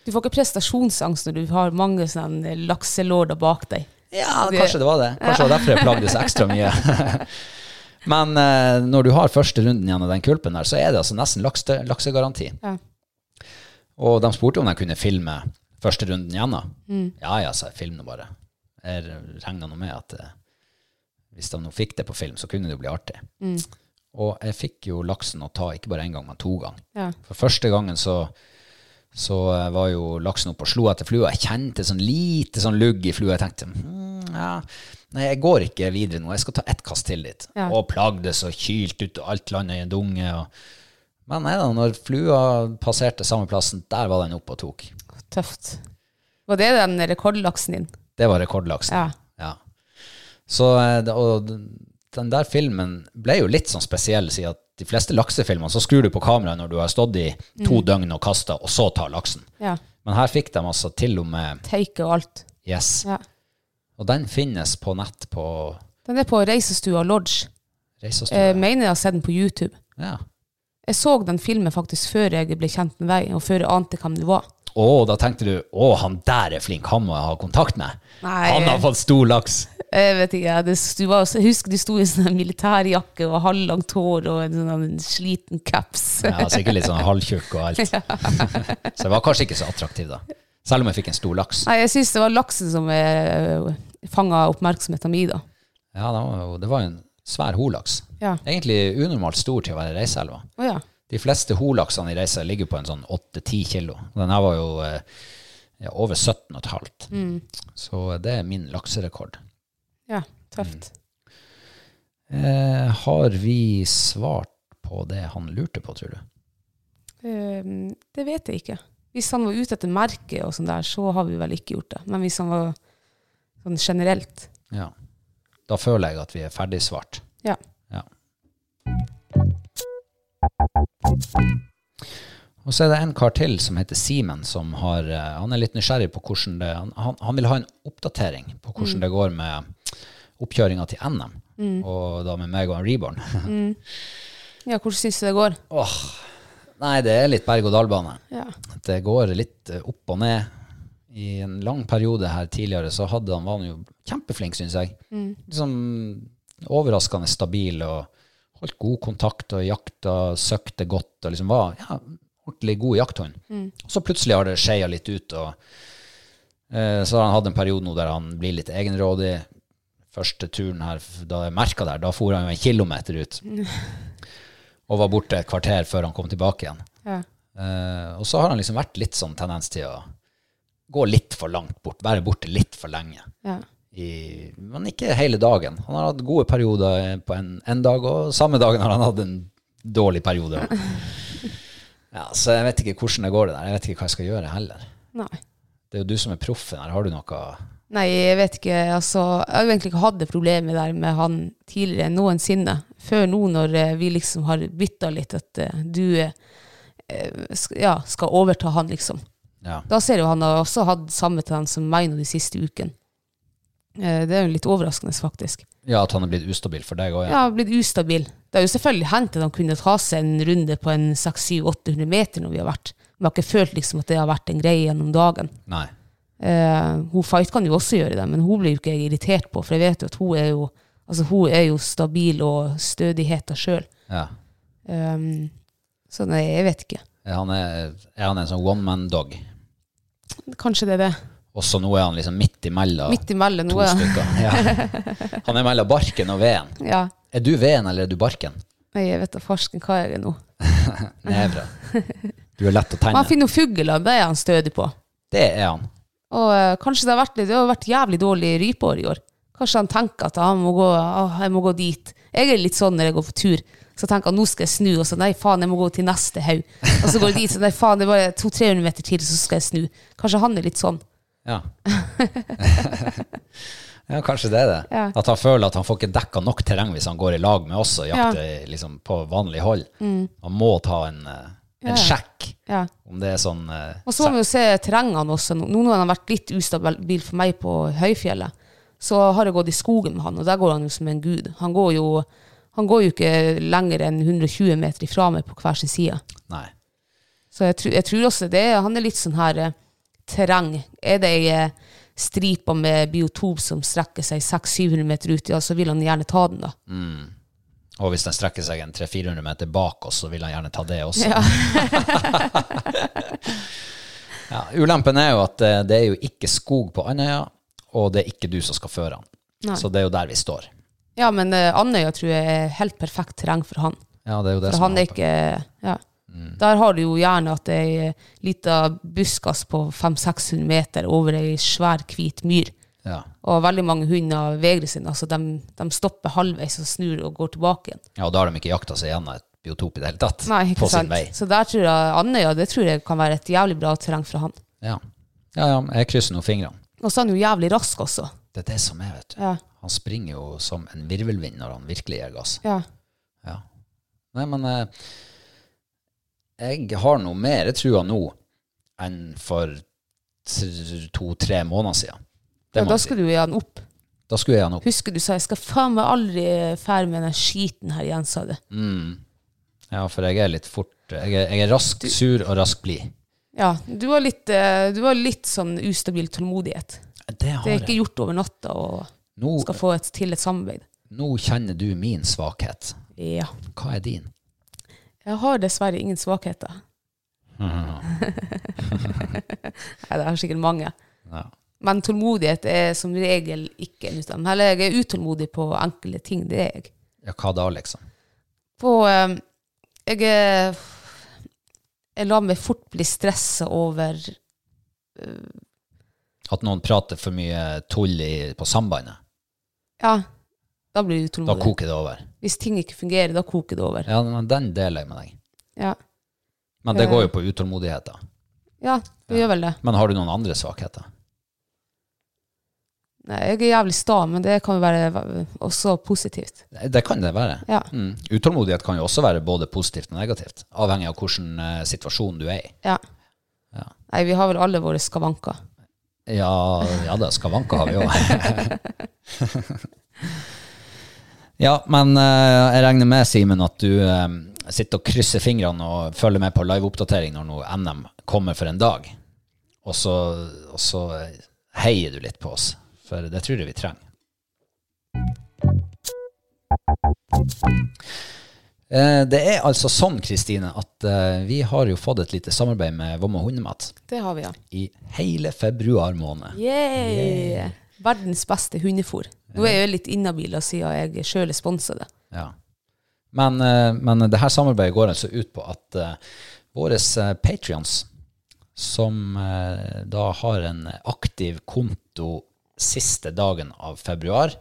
Speaker 2: Du får ikke prestasjonsangst når du har mange sånne lakselorder bak deg.
Speaker 1: Ja, kanskje det var det. Kanskje det var derfor jeg plagdes ekstra mye. Men eh, når du har første runden igjen av den kulpen der, så er det altså nesten lakse, laksegaranti.
Speaker 2: Ja.
Speaker 1: Og de spurte om de kunne filme første runden igjen. da. Ja ja, sa jeg, film nå bare. Jeg regna nå med at eh, hvis de nå fikk det på film, så kunne det jo bli artig.
Speaker 2: Mm.
Speaker 1: Og jeg fikk jo laksen å ta ikke bare én gang, men to ganger.
Speaker 2: Ja.
Speaker 1: For første gangen så, så eh, var jo laksen oppe og slo etter flua. Jeg kjente sånn lite sånn lugg i flua. Jeg tenkte mm, ja, nei, jeg går ikke videre nå. Jeg skal ta ett kast til dit.
Speaker 2: Ja.
Speaker 1: Og plagdes og kylt ut, og alt landa i en dunge. Og... Men nei da, når flua passerte samme plassen, der var den oppe og tok.
Speaker 2: Tøft. Var det den rekordlaksen din?
Speaker 1: Det var rekordlaksen.
Speaker 2: Ja.
Speaker 1: Ja. Så, eh, det- og den der filmen ble jo litt sånn spesiell, siden at de fleste laksefilmer, så skrur du på kameraet når du har stått i to døgn og kasta, og så tar laksen.
Speaker 2: Ja.
Speaker 1: Men her fikk de altså til og med
Speaker 2: Teike og alt.
Speaker 1: Yes.
Speaker 2: Ja.
Speaker 1: Og den finnes på nett på
Speaker 2: Den er på Reisestua Lodge.
Speaker 1: Reisestua.
Speaker 2: Jeg mener jeg har sett den på YouTube.
Speaker 1: ja.
Speaker 2: Jeg så den filmen faktisk før jeg ble kjent med deg, og før jeg ante hvem du var.
Speaker 1: Og da tenkte du å, han der er flink, han må jeg ha kontakt med.
Speaker 2: Nei.
Speaker 1: Han har fått stor laks.
Speaker 2: Jeg vet ikke, jeg- det, du var, jeg husker du sto i en sånn militærjakke og halvlangt hår og en sånn sliten caps.
Speaker 1: Ja, Sikkert litt sånn halvtjukk og alt. så jeg var kanskje ikke så attraktiv da. Selv om jeg fikk en stor laks.
Speaker 2: Nei, jeg syns det var laksen som eh, fanga oppmerksomheten min, da.
Speaker 1: Ja, det var jo, det var jo en svær holaks.
Speaker 2: Ja.
Speaker 1: Egentlig unormalt stor til å være reiseelva.
Speaker 2: Å ja.
Speaker 1: De fleste holaksene i reisa ligger på en sånn 8-10 kilo. Den her var jo eh, ja, over 17,5. Så det er min lakserekord.
Speaker 2: ja. Tøft.
Speaker 1: Eh, har vi svart på det han lurte på, tror du?
Speaker 2: Eh, det vet jeg ikke. Hvis han var ute etter merket og sånn der, så har vi vel ikke gjort det. Men hvis han var sånn generelt
Speaker 1: Ja. Da føler jeg at vi er ferdig svart.
Speaker 2: Ja.
Speaker 1: Ja. Og så er det en kar til som heter Simen, som har, eh, han er litt nysgjerrig på hvordan det Han, han- han vil ha en oppdatering på hvordan det går med oppkjøringa til NM, og da med meg og en reborn.
Speaker 2: Ja, hvordan syns du det går?
Speaker 1: Åh, Nei, det er litt berg-og-dal-bane.
Speaker 2: Ja.
Speaker 1: Det går litt eh, opp og ned. I en lang periode her tidligere så hadde han, var han jo kjempeflink, syns jeg. Liksom overraskende stabil og holdt god kontakt og jakta, søkte godt og liksom var ja, ordentlig god jakthund. Og så plutselig har det skeia litt ut, og eh, så har han hatt en periode nå der han blir litt egenrådig. Første turen her, da jeg merka der, da for han jo en kilometer ut. Og var borte et kvarter før han kom tilbake igjen.
Speaker 2: Ja.
Speaker 1: Eh, og så har han liksom vært litt sånn tendens til å gå litt for langt bort, være borte litt for lenge.
Speaker 2: ja.
Speaker 1: I, men ikke hele dagen. Han har hatt gode perioder på en, en dag, og samme dagen har han hatt en dårlig periode. Ja, så jeg vet ikke hvordan det går det der. Jeg vet ikke hva jeg skal gjøre heller.
Speaker 2: Nei.
Speaker 1: Det er jo du som er proffen her. Har du noe
Speaker 2: Nei, jeg vet ikke. Altså, jeg har jo egentlig ikke hatt det problemet der med han tidligere enn noensinne. Før nå, når eh, vi liksom har bytta litt, at eh, du eh, sk- ja, skal overta han, liksom.
Speaker 1: Ja.
Speaker 2: Da ser jo han har også hatt samme tendens som meg nå de siste ukene. Eh, Det er jo litt overraskende, faktisk.
Speaker 1: ja, at han er blitt ustabil for deg òg?
Speaker 2: Ja, har blitt ustabil. Det har jo selvfølgelig hendt at han kunne ta seg en runde på en 600-800 meter når vi har vært. Men jeg har ikke følt liksom at det har vært en greie gjennom dagen.
Speaker 1: Nei.
Speaker 2: Eh, hun Fight kan jo også gjøre det, men hun blir jo ikke jeg irritert på, for jeg vet jo at hun er jo, altså, hun er jo stabil og stødigheta sjøl.
Speaker 1: Ja.
Speaker 2: Um, så nei, jeg vet ikke.
Speaker 1: Er han, er, er han en sånn one man dog?
Speaker 2: Kanskje det er det.
Speaker 1: Og så nå er han liksom midt imellom
Speaker 2: Midt imellom
Speaker 1: to
Speaker 2: noe.
Speaker 1: stykker. Ja. Han er mellom barken og veden.
Speaker 2: Ja.
Speaker 1: Er du veden, eller er du barken?
Speaker 2: Nei, jeg vet da farsken hva jeg er nå.
Speaker 1: Nevra. Du er lett å
Speaker 2: Men han
Speaker 1: tegne.
Speaker 2: finner jo fugler, det er han stødig på.
Speaker 1: Det er han.
Speaker 2: Og eh, kanskje det har vært, det har vært jævlig dårlig rypeår i år. Kanskje han tenker at han må gå, «Åh, jeg må gå dit. Jeg er litt sånn når jeg går på tur. Så tenker han nå skal jeg snu, og så nei faen, jeg må gå til neste haug. Og så går jeg dit, så nei faen, det er bare 200-300 meter til, så skal jeg snu. Kanskje han er litt sånn.
Speaker 1: Ja. ja, kanskje det er det.
Speaker 2: Ja.
Speaker 1: At han føler at han får ikke dekka nok terreng hvis han går i lag med oss og jakter liksom, på vanlig hold. Han må ta en, eh, en sjekk
Speaker 2: Mm. Ja.
Speaker 1: om det er sånn eh,
Speaker 2: Og så må vi jo se terrengene også. Nå nå når han har vært litt ustabil for meg på høyfjellet, så har jeg gått i skogen med han, og der går han jo som en gud. Han går jo, han går jo ikke lenger enn 120 meter ifra meg på hver sin side.
Speaker 1: Nei.
Speaker 2: Så jeg, tru- jeg tror også det. Han er litt sånn her eh, terreng. Er det ei eh, stripe med biotop som strekker seg 600-700 meter ut, ja, så vil han gjerne ta den, da.
Speaker 1: Og hvis den strekker seg en 300-400 meter bak oss, så vil han gjerne ta det også. Ja. ulempen er jo at eh, det er jo ikke skog på Andøya, og det er ikke du som skal føre han. Så det er jo der vi står.
Speaker 2: Ja, men eh, Andøya tror jeg er helt perfekt terreng for han.
Speaker 1: Ja, det er jo det
Speaker 2: For
Speaker 1: som Mm.
Speaker 2: han er
Speaker 1: håpet.
Speaker 2: ikke ja. Der har du jo gjerne at det er ei eh, lita buskas på 500-600 meter over ei svær, hvit myr.
Speaker 1: Ja.
Speaker 2: Og veldig mange hunder vegrer seg. Altså de, de stopper halvveis og snur og går tilbake igjen.
Speaker 1: Ja, og da har de ikke jakta seg gjennom et biotop i det hele tatt.
Speaker 2: Nei, ikke
Speaker 1: på
Speaker 2: sant.
Speaker 1: sin vei.
Speaker 2: Så der tror jeg Andøya det tror jeg kan være et jævlig bra terreng for han.
Speaker 1: Ja. ja, ja, jeg krysser nå fingrene.
Speaker 2: Og så er han jo jævlig rask også.
Speaker 1: Det er det som er, vet du.
Speaker 2: Ja.
Speaker 1: Han springer jo som en virvelvind når han virkelig gir gass.
Speaker 2: Ja.
Speaker 1: Ja. Nei, men eh, jeg har noe mer trua nå enn for to-tre måneder siden. Det
Speaker 2: ja,
Speaker 1: må
Speaker 2: da
Speaker 1: jeg si.
Speaker 2: skal du gi han opp.
Speaker 1: Da skulle jeg han opp.
Speaker 2: Husker du sa jeg skal faen meg aldri fære med den skiten her igjen, sa du.
Speaker 1: Ja, for jeg er litt fort Jeg er, jeg er raskt sur og raskt blid.
Speaker 2: Ja, du har litt, eh, du har litt sånn ustabil tålmodighet.
Speaker 1: Det har
Speaker 2: Det er
Speaker 1: jeg.
Speaker 2: ikke gjort over natta å
Speaker 1: Nå,
Speaker 2: skal få et, til et samarbeid.
Speaker 1: nå kjenner du min svakhet.
Speaker 2: Ja.
Speaker 1: Hva er din?
Speaker 2: Jeg har dessverre ingen svakheter. Nei, det har sikkert mange.
Speaker 1: Ja.
Speaker 2: Men tålmodighet er som regel ikke en utdanning. Eller jeg er utålmodig på enkelte ting, det er jeg.
Speaker 1: Ja, hva da, liksom?
Speaker 2: På, eh, jeg, er- jeg lar meg fort bli stressa over eh,
Speaker 1: At noen prater for mye tull i, på sambandet?
Speaker 2: Ja, da blir jeg
Speaker 1: Da
Speaker 2: utålmodig.
Speaker 1: koker det over.
Speaker 2: Hvis ting ikke fungerer, da koker det over.
Speaker 1: Ja, men Den deler jeg med deg.
Speaker 2: Ja,
Speaker 1: Men det går jo på utålmodighet, da.
Speaker 2: ja det gjør vel det.
Speaker 1: Men har du noen andre svakheter?
Speaker 2: Nei, jeg er jævlig sta, men det kan jo være eh, også positivt.
Speaker 1: Det kan det være.
Speaker 2: Ja.
Speaker 1: Mm. Utålmodighet kan jo også være både positivt og negativt, avhengig av hvilken eh, situasjon du er i.
Speaker 2: Ja. Nei, vi har vel alle våre skavanker.
Speaker 1: Ja, ja da, skavanker har vi òg. ja, men eh, jeg regner med, Simen, at du eh, sitter og krysser fingrene og følger med på liveoppdatering når noe NM kommer for en dag. Og så, og så eh, heier du litt på oss, for det tror jeg vi trenger. Eh, Det er altså sånn, Kristine, at eh, vi har jo fått et lite samarbeid med Vom og Hundemat
Speaker 2: Det har vi, ja.
Speaker 1: i hele februar måned.
Speaker 2: Yay! Verdens beste hundefôr. Nå er jeg jo litt inhabil og siden jeg sjøl er sponsa det.
Speaker 1: Ja. Men, eh, men det her samarbeidet går altså ut på at uh, våre patrions, som eh, da har en aktiv konto siste dagen av februar,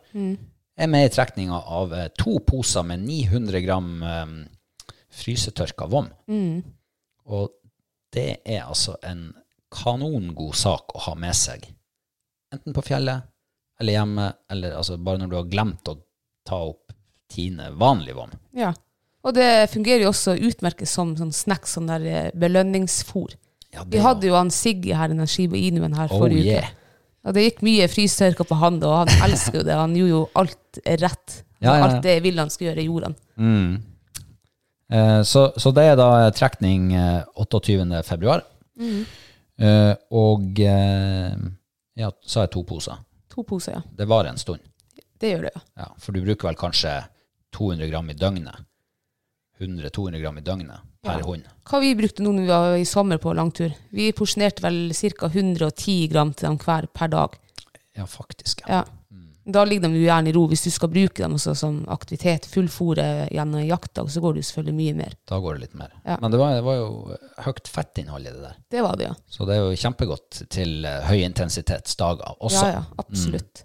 Speaker 1: er med i trekninga av eh, to poser med 900 gram um, frysetørka vom. Og det er altså en kanongod sak å ha med seg. Enten på fjellet eller hjemme, eller altså bare når du har glemt å ta opp Tine vanlig vom.
Speaker 2: Ja. Og det fungerer jo også utmerket som sånn snacks, sånn der eh, belønningsfôr.
Speaker 1: Ja, det
Speaker 2: Vi hadde jo han Siggy her, den Shiba-inuen her
Speaker 1: Oh,
Speaker 2: forrige uke.
Speaker 1: yeah.
Speaker 2: Og det gikk mye frystørka på han, og han elsker jo det. Han gjorde jo alt rett.
Speaker 1: Ja, ja, ja.
Speaker 2: Alt det jeg ville han skulle gjøre, gjorde han.
Speaker 1: Mm. Eh, så, så det er da trekning eh, 28. februar.
Speaker 2: Mm.
Speaker 1: Eh, og eh, ja, så er det to poser.
Speaker 2: To poser, ja.
Speaker 1: Det varer en stund.
Speaker 2: Det gjør det, ja.
Speaker 1: Ja, for du bruker vel kanskje 200 gram i døgnet. 100-200 gram i døgnet per hund.
Speaker 2: Hva vi brukte nå når vi var i sommer på langtur? Vi porsjonerte vel ca. 110 gram til dem hver per dag.
Speaker 1: Ja, faktisk. Ja. Mm.
Speaker 2: Ja. Da ligger de jo gjerne i ro. Hvis du skal bruke dem også som aktivitet, fullfòre gjennom jakta, så går det jo selvfølgelig mye mer.
Speaker 1: Da går det litt mer.
Speaker 2: Ja.
Speaker 1: Men det var, det var jo høyt fettinnhold i det der.
Speaker 2: Det var det, ja.
Speaker 1: Så det er jo kjempegodt til eh, høyintensitetsdager også.
Speaker 2: Ja, ja, absolutt.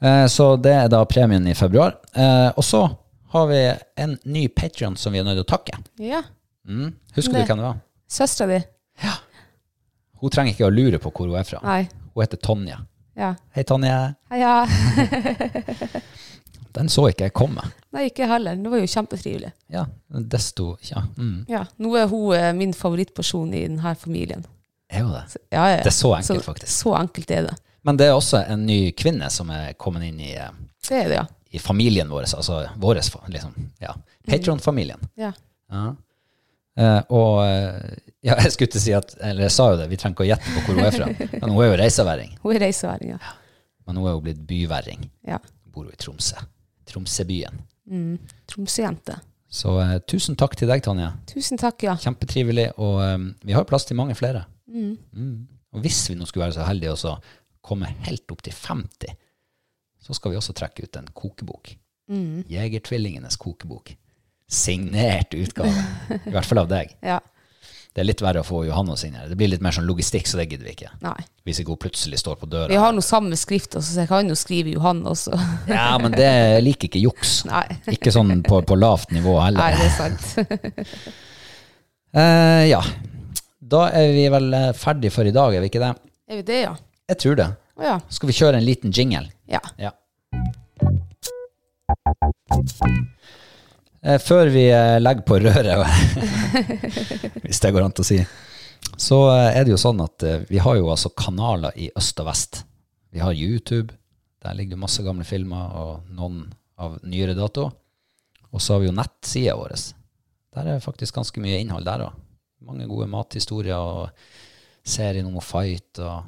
Speaker 1: Eh, Så det er da premien i februar. Eh, Og så har vi en ny Patrion som vi er nødt til å takke.
Speaker 2: Ja.
Speaker 1: Mm. Husker
Speaker 2: Det-
Speaker 1: du hvem det var?
Speaker 2: Søstera di?
Speaker 1: Hun trenger ikke å lure på hvor hun er fra.
Speaker 2: Nei.
Speaker 1: Hun heter Tonje.
Speaker 2: Ja.
Speaker 1: Hei, Tonje.
Speaker 2: Heia.
Speaker 1: Den så ikke jeg komme.
Speaker 2: Nei, ikke jeg heller. Det var jo kjempetrivelig.
Speaker 1: Ja, desto Ja, mm.
Speaker 2: Ja. Nå er hun eh, min favorittperson i denne familien.
Speaker 1: er jo det.
Speaker 2: Ja, ja. ja.
Speaker 1: Det er så enkelt,
Speaker 2: så,
Speaker 1: faktisk.
Speaker 2: så enkelt er det.
Speaker 1: Men det er også en ny kvinne som er kommet inn i, eh,
Speaker 2: Det er det, ja.
Speaker 1: i familien vår, altså vår, fa- liksom. Ja. Patron-familien.
Speaker 2: ja.
Speaker 1: Ja. Eh, og eh, ja, jeg skulle til å si at Eller jeg sa jo det, vi trenger ikke å gjette på hvor hun er fra. Men hun er jo reiseværing.
Speaker 2: Hun er reiseværing, ja.
Speaker 1: Men hun er jo blitt byværing.
Speaker 2: ja.
Speaker 1: bor jo i Tromsø. Tromsøbyen.
Speaker 2: Tromsøjente.
Speaker 1: Så eh, tusen takk til deg, Tanja.
Speaker 2: Tusen takk, ja.
Speaker 1: Kjempetrivelig. Og eh, vi har plass til mange flere. Mm. Og hvis vi nå skulle være så heldige og så komme helt opp til 50, så skal vi også trekke ut en kokebok. Jegertvillingenes kokebok. Signert utgave. I hvert fall av deg.
Speaker 2: Ja.
Speaker 1: Det er litt verre å få Johanne å signere. Det blir litt mer sånn logistikk, så det gidder vi ikke.
Speaker 2: Nei.
Speaker 1: Hvis ikke hun plutselig står på
Speaker 2: Vi
Speaker 1: døra.
Speaker 2: har nå samme skrift, også, så jeg kan jo skrive Johan også.
Speaker 1: Ja, men det jeg liker ikke juks.
Speaker 2: Nei.
Speaker 1: Ikke sånn på, på lavt nivå heller.
Speaker 2: Nei, det er sant.
Speaker 1: Eh, ja. Da er vi vel eh, ferdig for i dag, er vi ikke det?
Speaker 2: Er vi det, ja?
Speaker 1: Jeg tror det.
Speaker 2: Å ja.
Speaker 1: Skal vi kjøre en liten jingle?
Speaker 2: Ja.
Speaker 1: Ja. Eh, Før vi eh, legger på røret, hvis det går an til å si, så eh, er det jo sånn at eh, vi har jo altså kanaler i øst og vest. Vi har YouTube, der ligger det masse gamle filmer og noen av nyere dato. Og så har vi jo nettsida vår. Der er faktisk ganske mye innhold der òg. Mange gode mathistorier og serien om å fight og,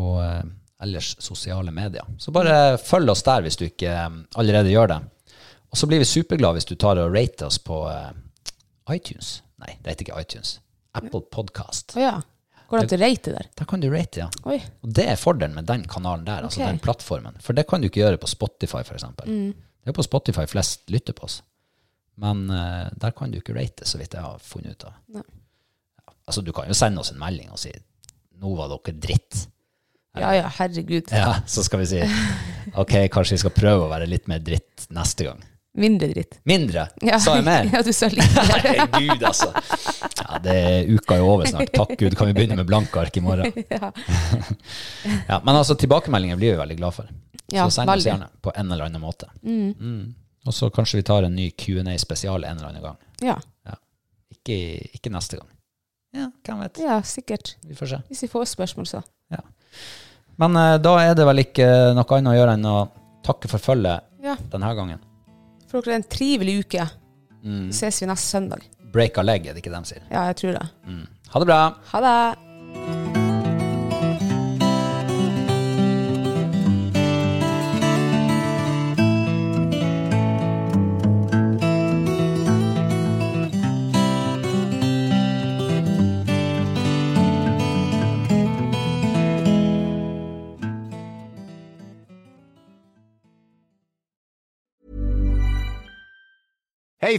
Speaker 1: og eh, ellers sosiale medier. Så bare følg oss der hvis du ikke eh, allerede gjør det. Og så blir vi superglade hvis du tar og rater oss på eh, iTunes. Nei, det heter ikke iTunes. Apple Podcast.
Speaker 2: Å ja. Går det an til å rate der?
Speaker 1: Der kan du rate, ja.
Speaker 2: Oi.
Speaker 1: Og det er fordelen med den kanalen der, altså
Speaker 2: Ok. Mm.
Speaker 1: den plattformen. For det kan du ikke gjøre på Spotify, f.eks. eksempel. Det er jo på Spotify flest lytter på oss. Men eh, der kan du ikke rate, så vidt jeg har funnet ut av.
Speaker 2: Nei.
Speaker 1: Ja. Altså, du kan jo sende oss en melding og si 'nå var dere dritt'.
Speaker 2: Ja ja, herregud.
Speaker 1: Ja, så skal vi si 'ok, kanskje vi skal prøve å være litt mer dritt neste gang'.
Speaker 2: Mindre dritt.
Speaker 1: Mindre!
Speaker 2: Ja.
Speaker 1: Sa jeg mer?
Speaker 2: Ja, du sa litt mer.
Speaker 1: Herregud, altså. Ja, det er uka er over snart. Takk Gud, kan vi begynne med blanke ark i morgen? Ja, men altså, tilbakemeldinger blir vi veldig glad for.
Speaker 2: Ja,
Speaker 1: så send oss
Speaker 2: veldig.
Speaker 1: gjerne på en eller annen måte. Mm. Og så kanskje vi tar en ny Q&A-spesial en eller annen gang.
Speaker 2: Ja.
Speaker 1: Ikke, ikke neste gang. Ja, hvem vet.
Speaker 2: ja, sikkert.
Speaker 1: Vi får se.
Speaker 2: Hvis vi får spørsmål, så.
Speaker 1: Ja. Men eh, da er det vel ikke eh, noe annet å gjøre enn å takke for følget
Speaker 2: Ja.
Speaker 1: denne gangen.
Speaker 2: For dere en trivelig uke.
Speaker 1: Mm.
Speaker 2: Så ses vi neste søndag.
Speaker 1: Break a leg, er det ikke de sier. Mm.
Speaker 2: Ja, jeg tror det.
Speaker 1: Ha det bra!
Speaker 2: Ha det.
Speaker 3: Hey,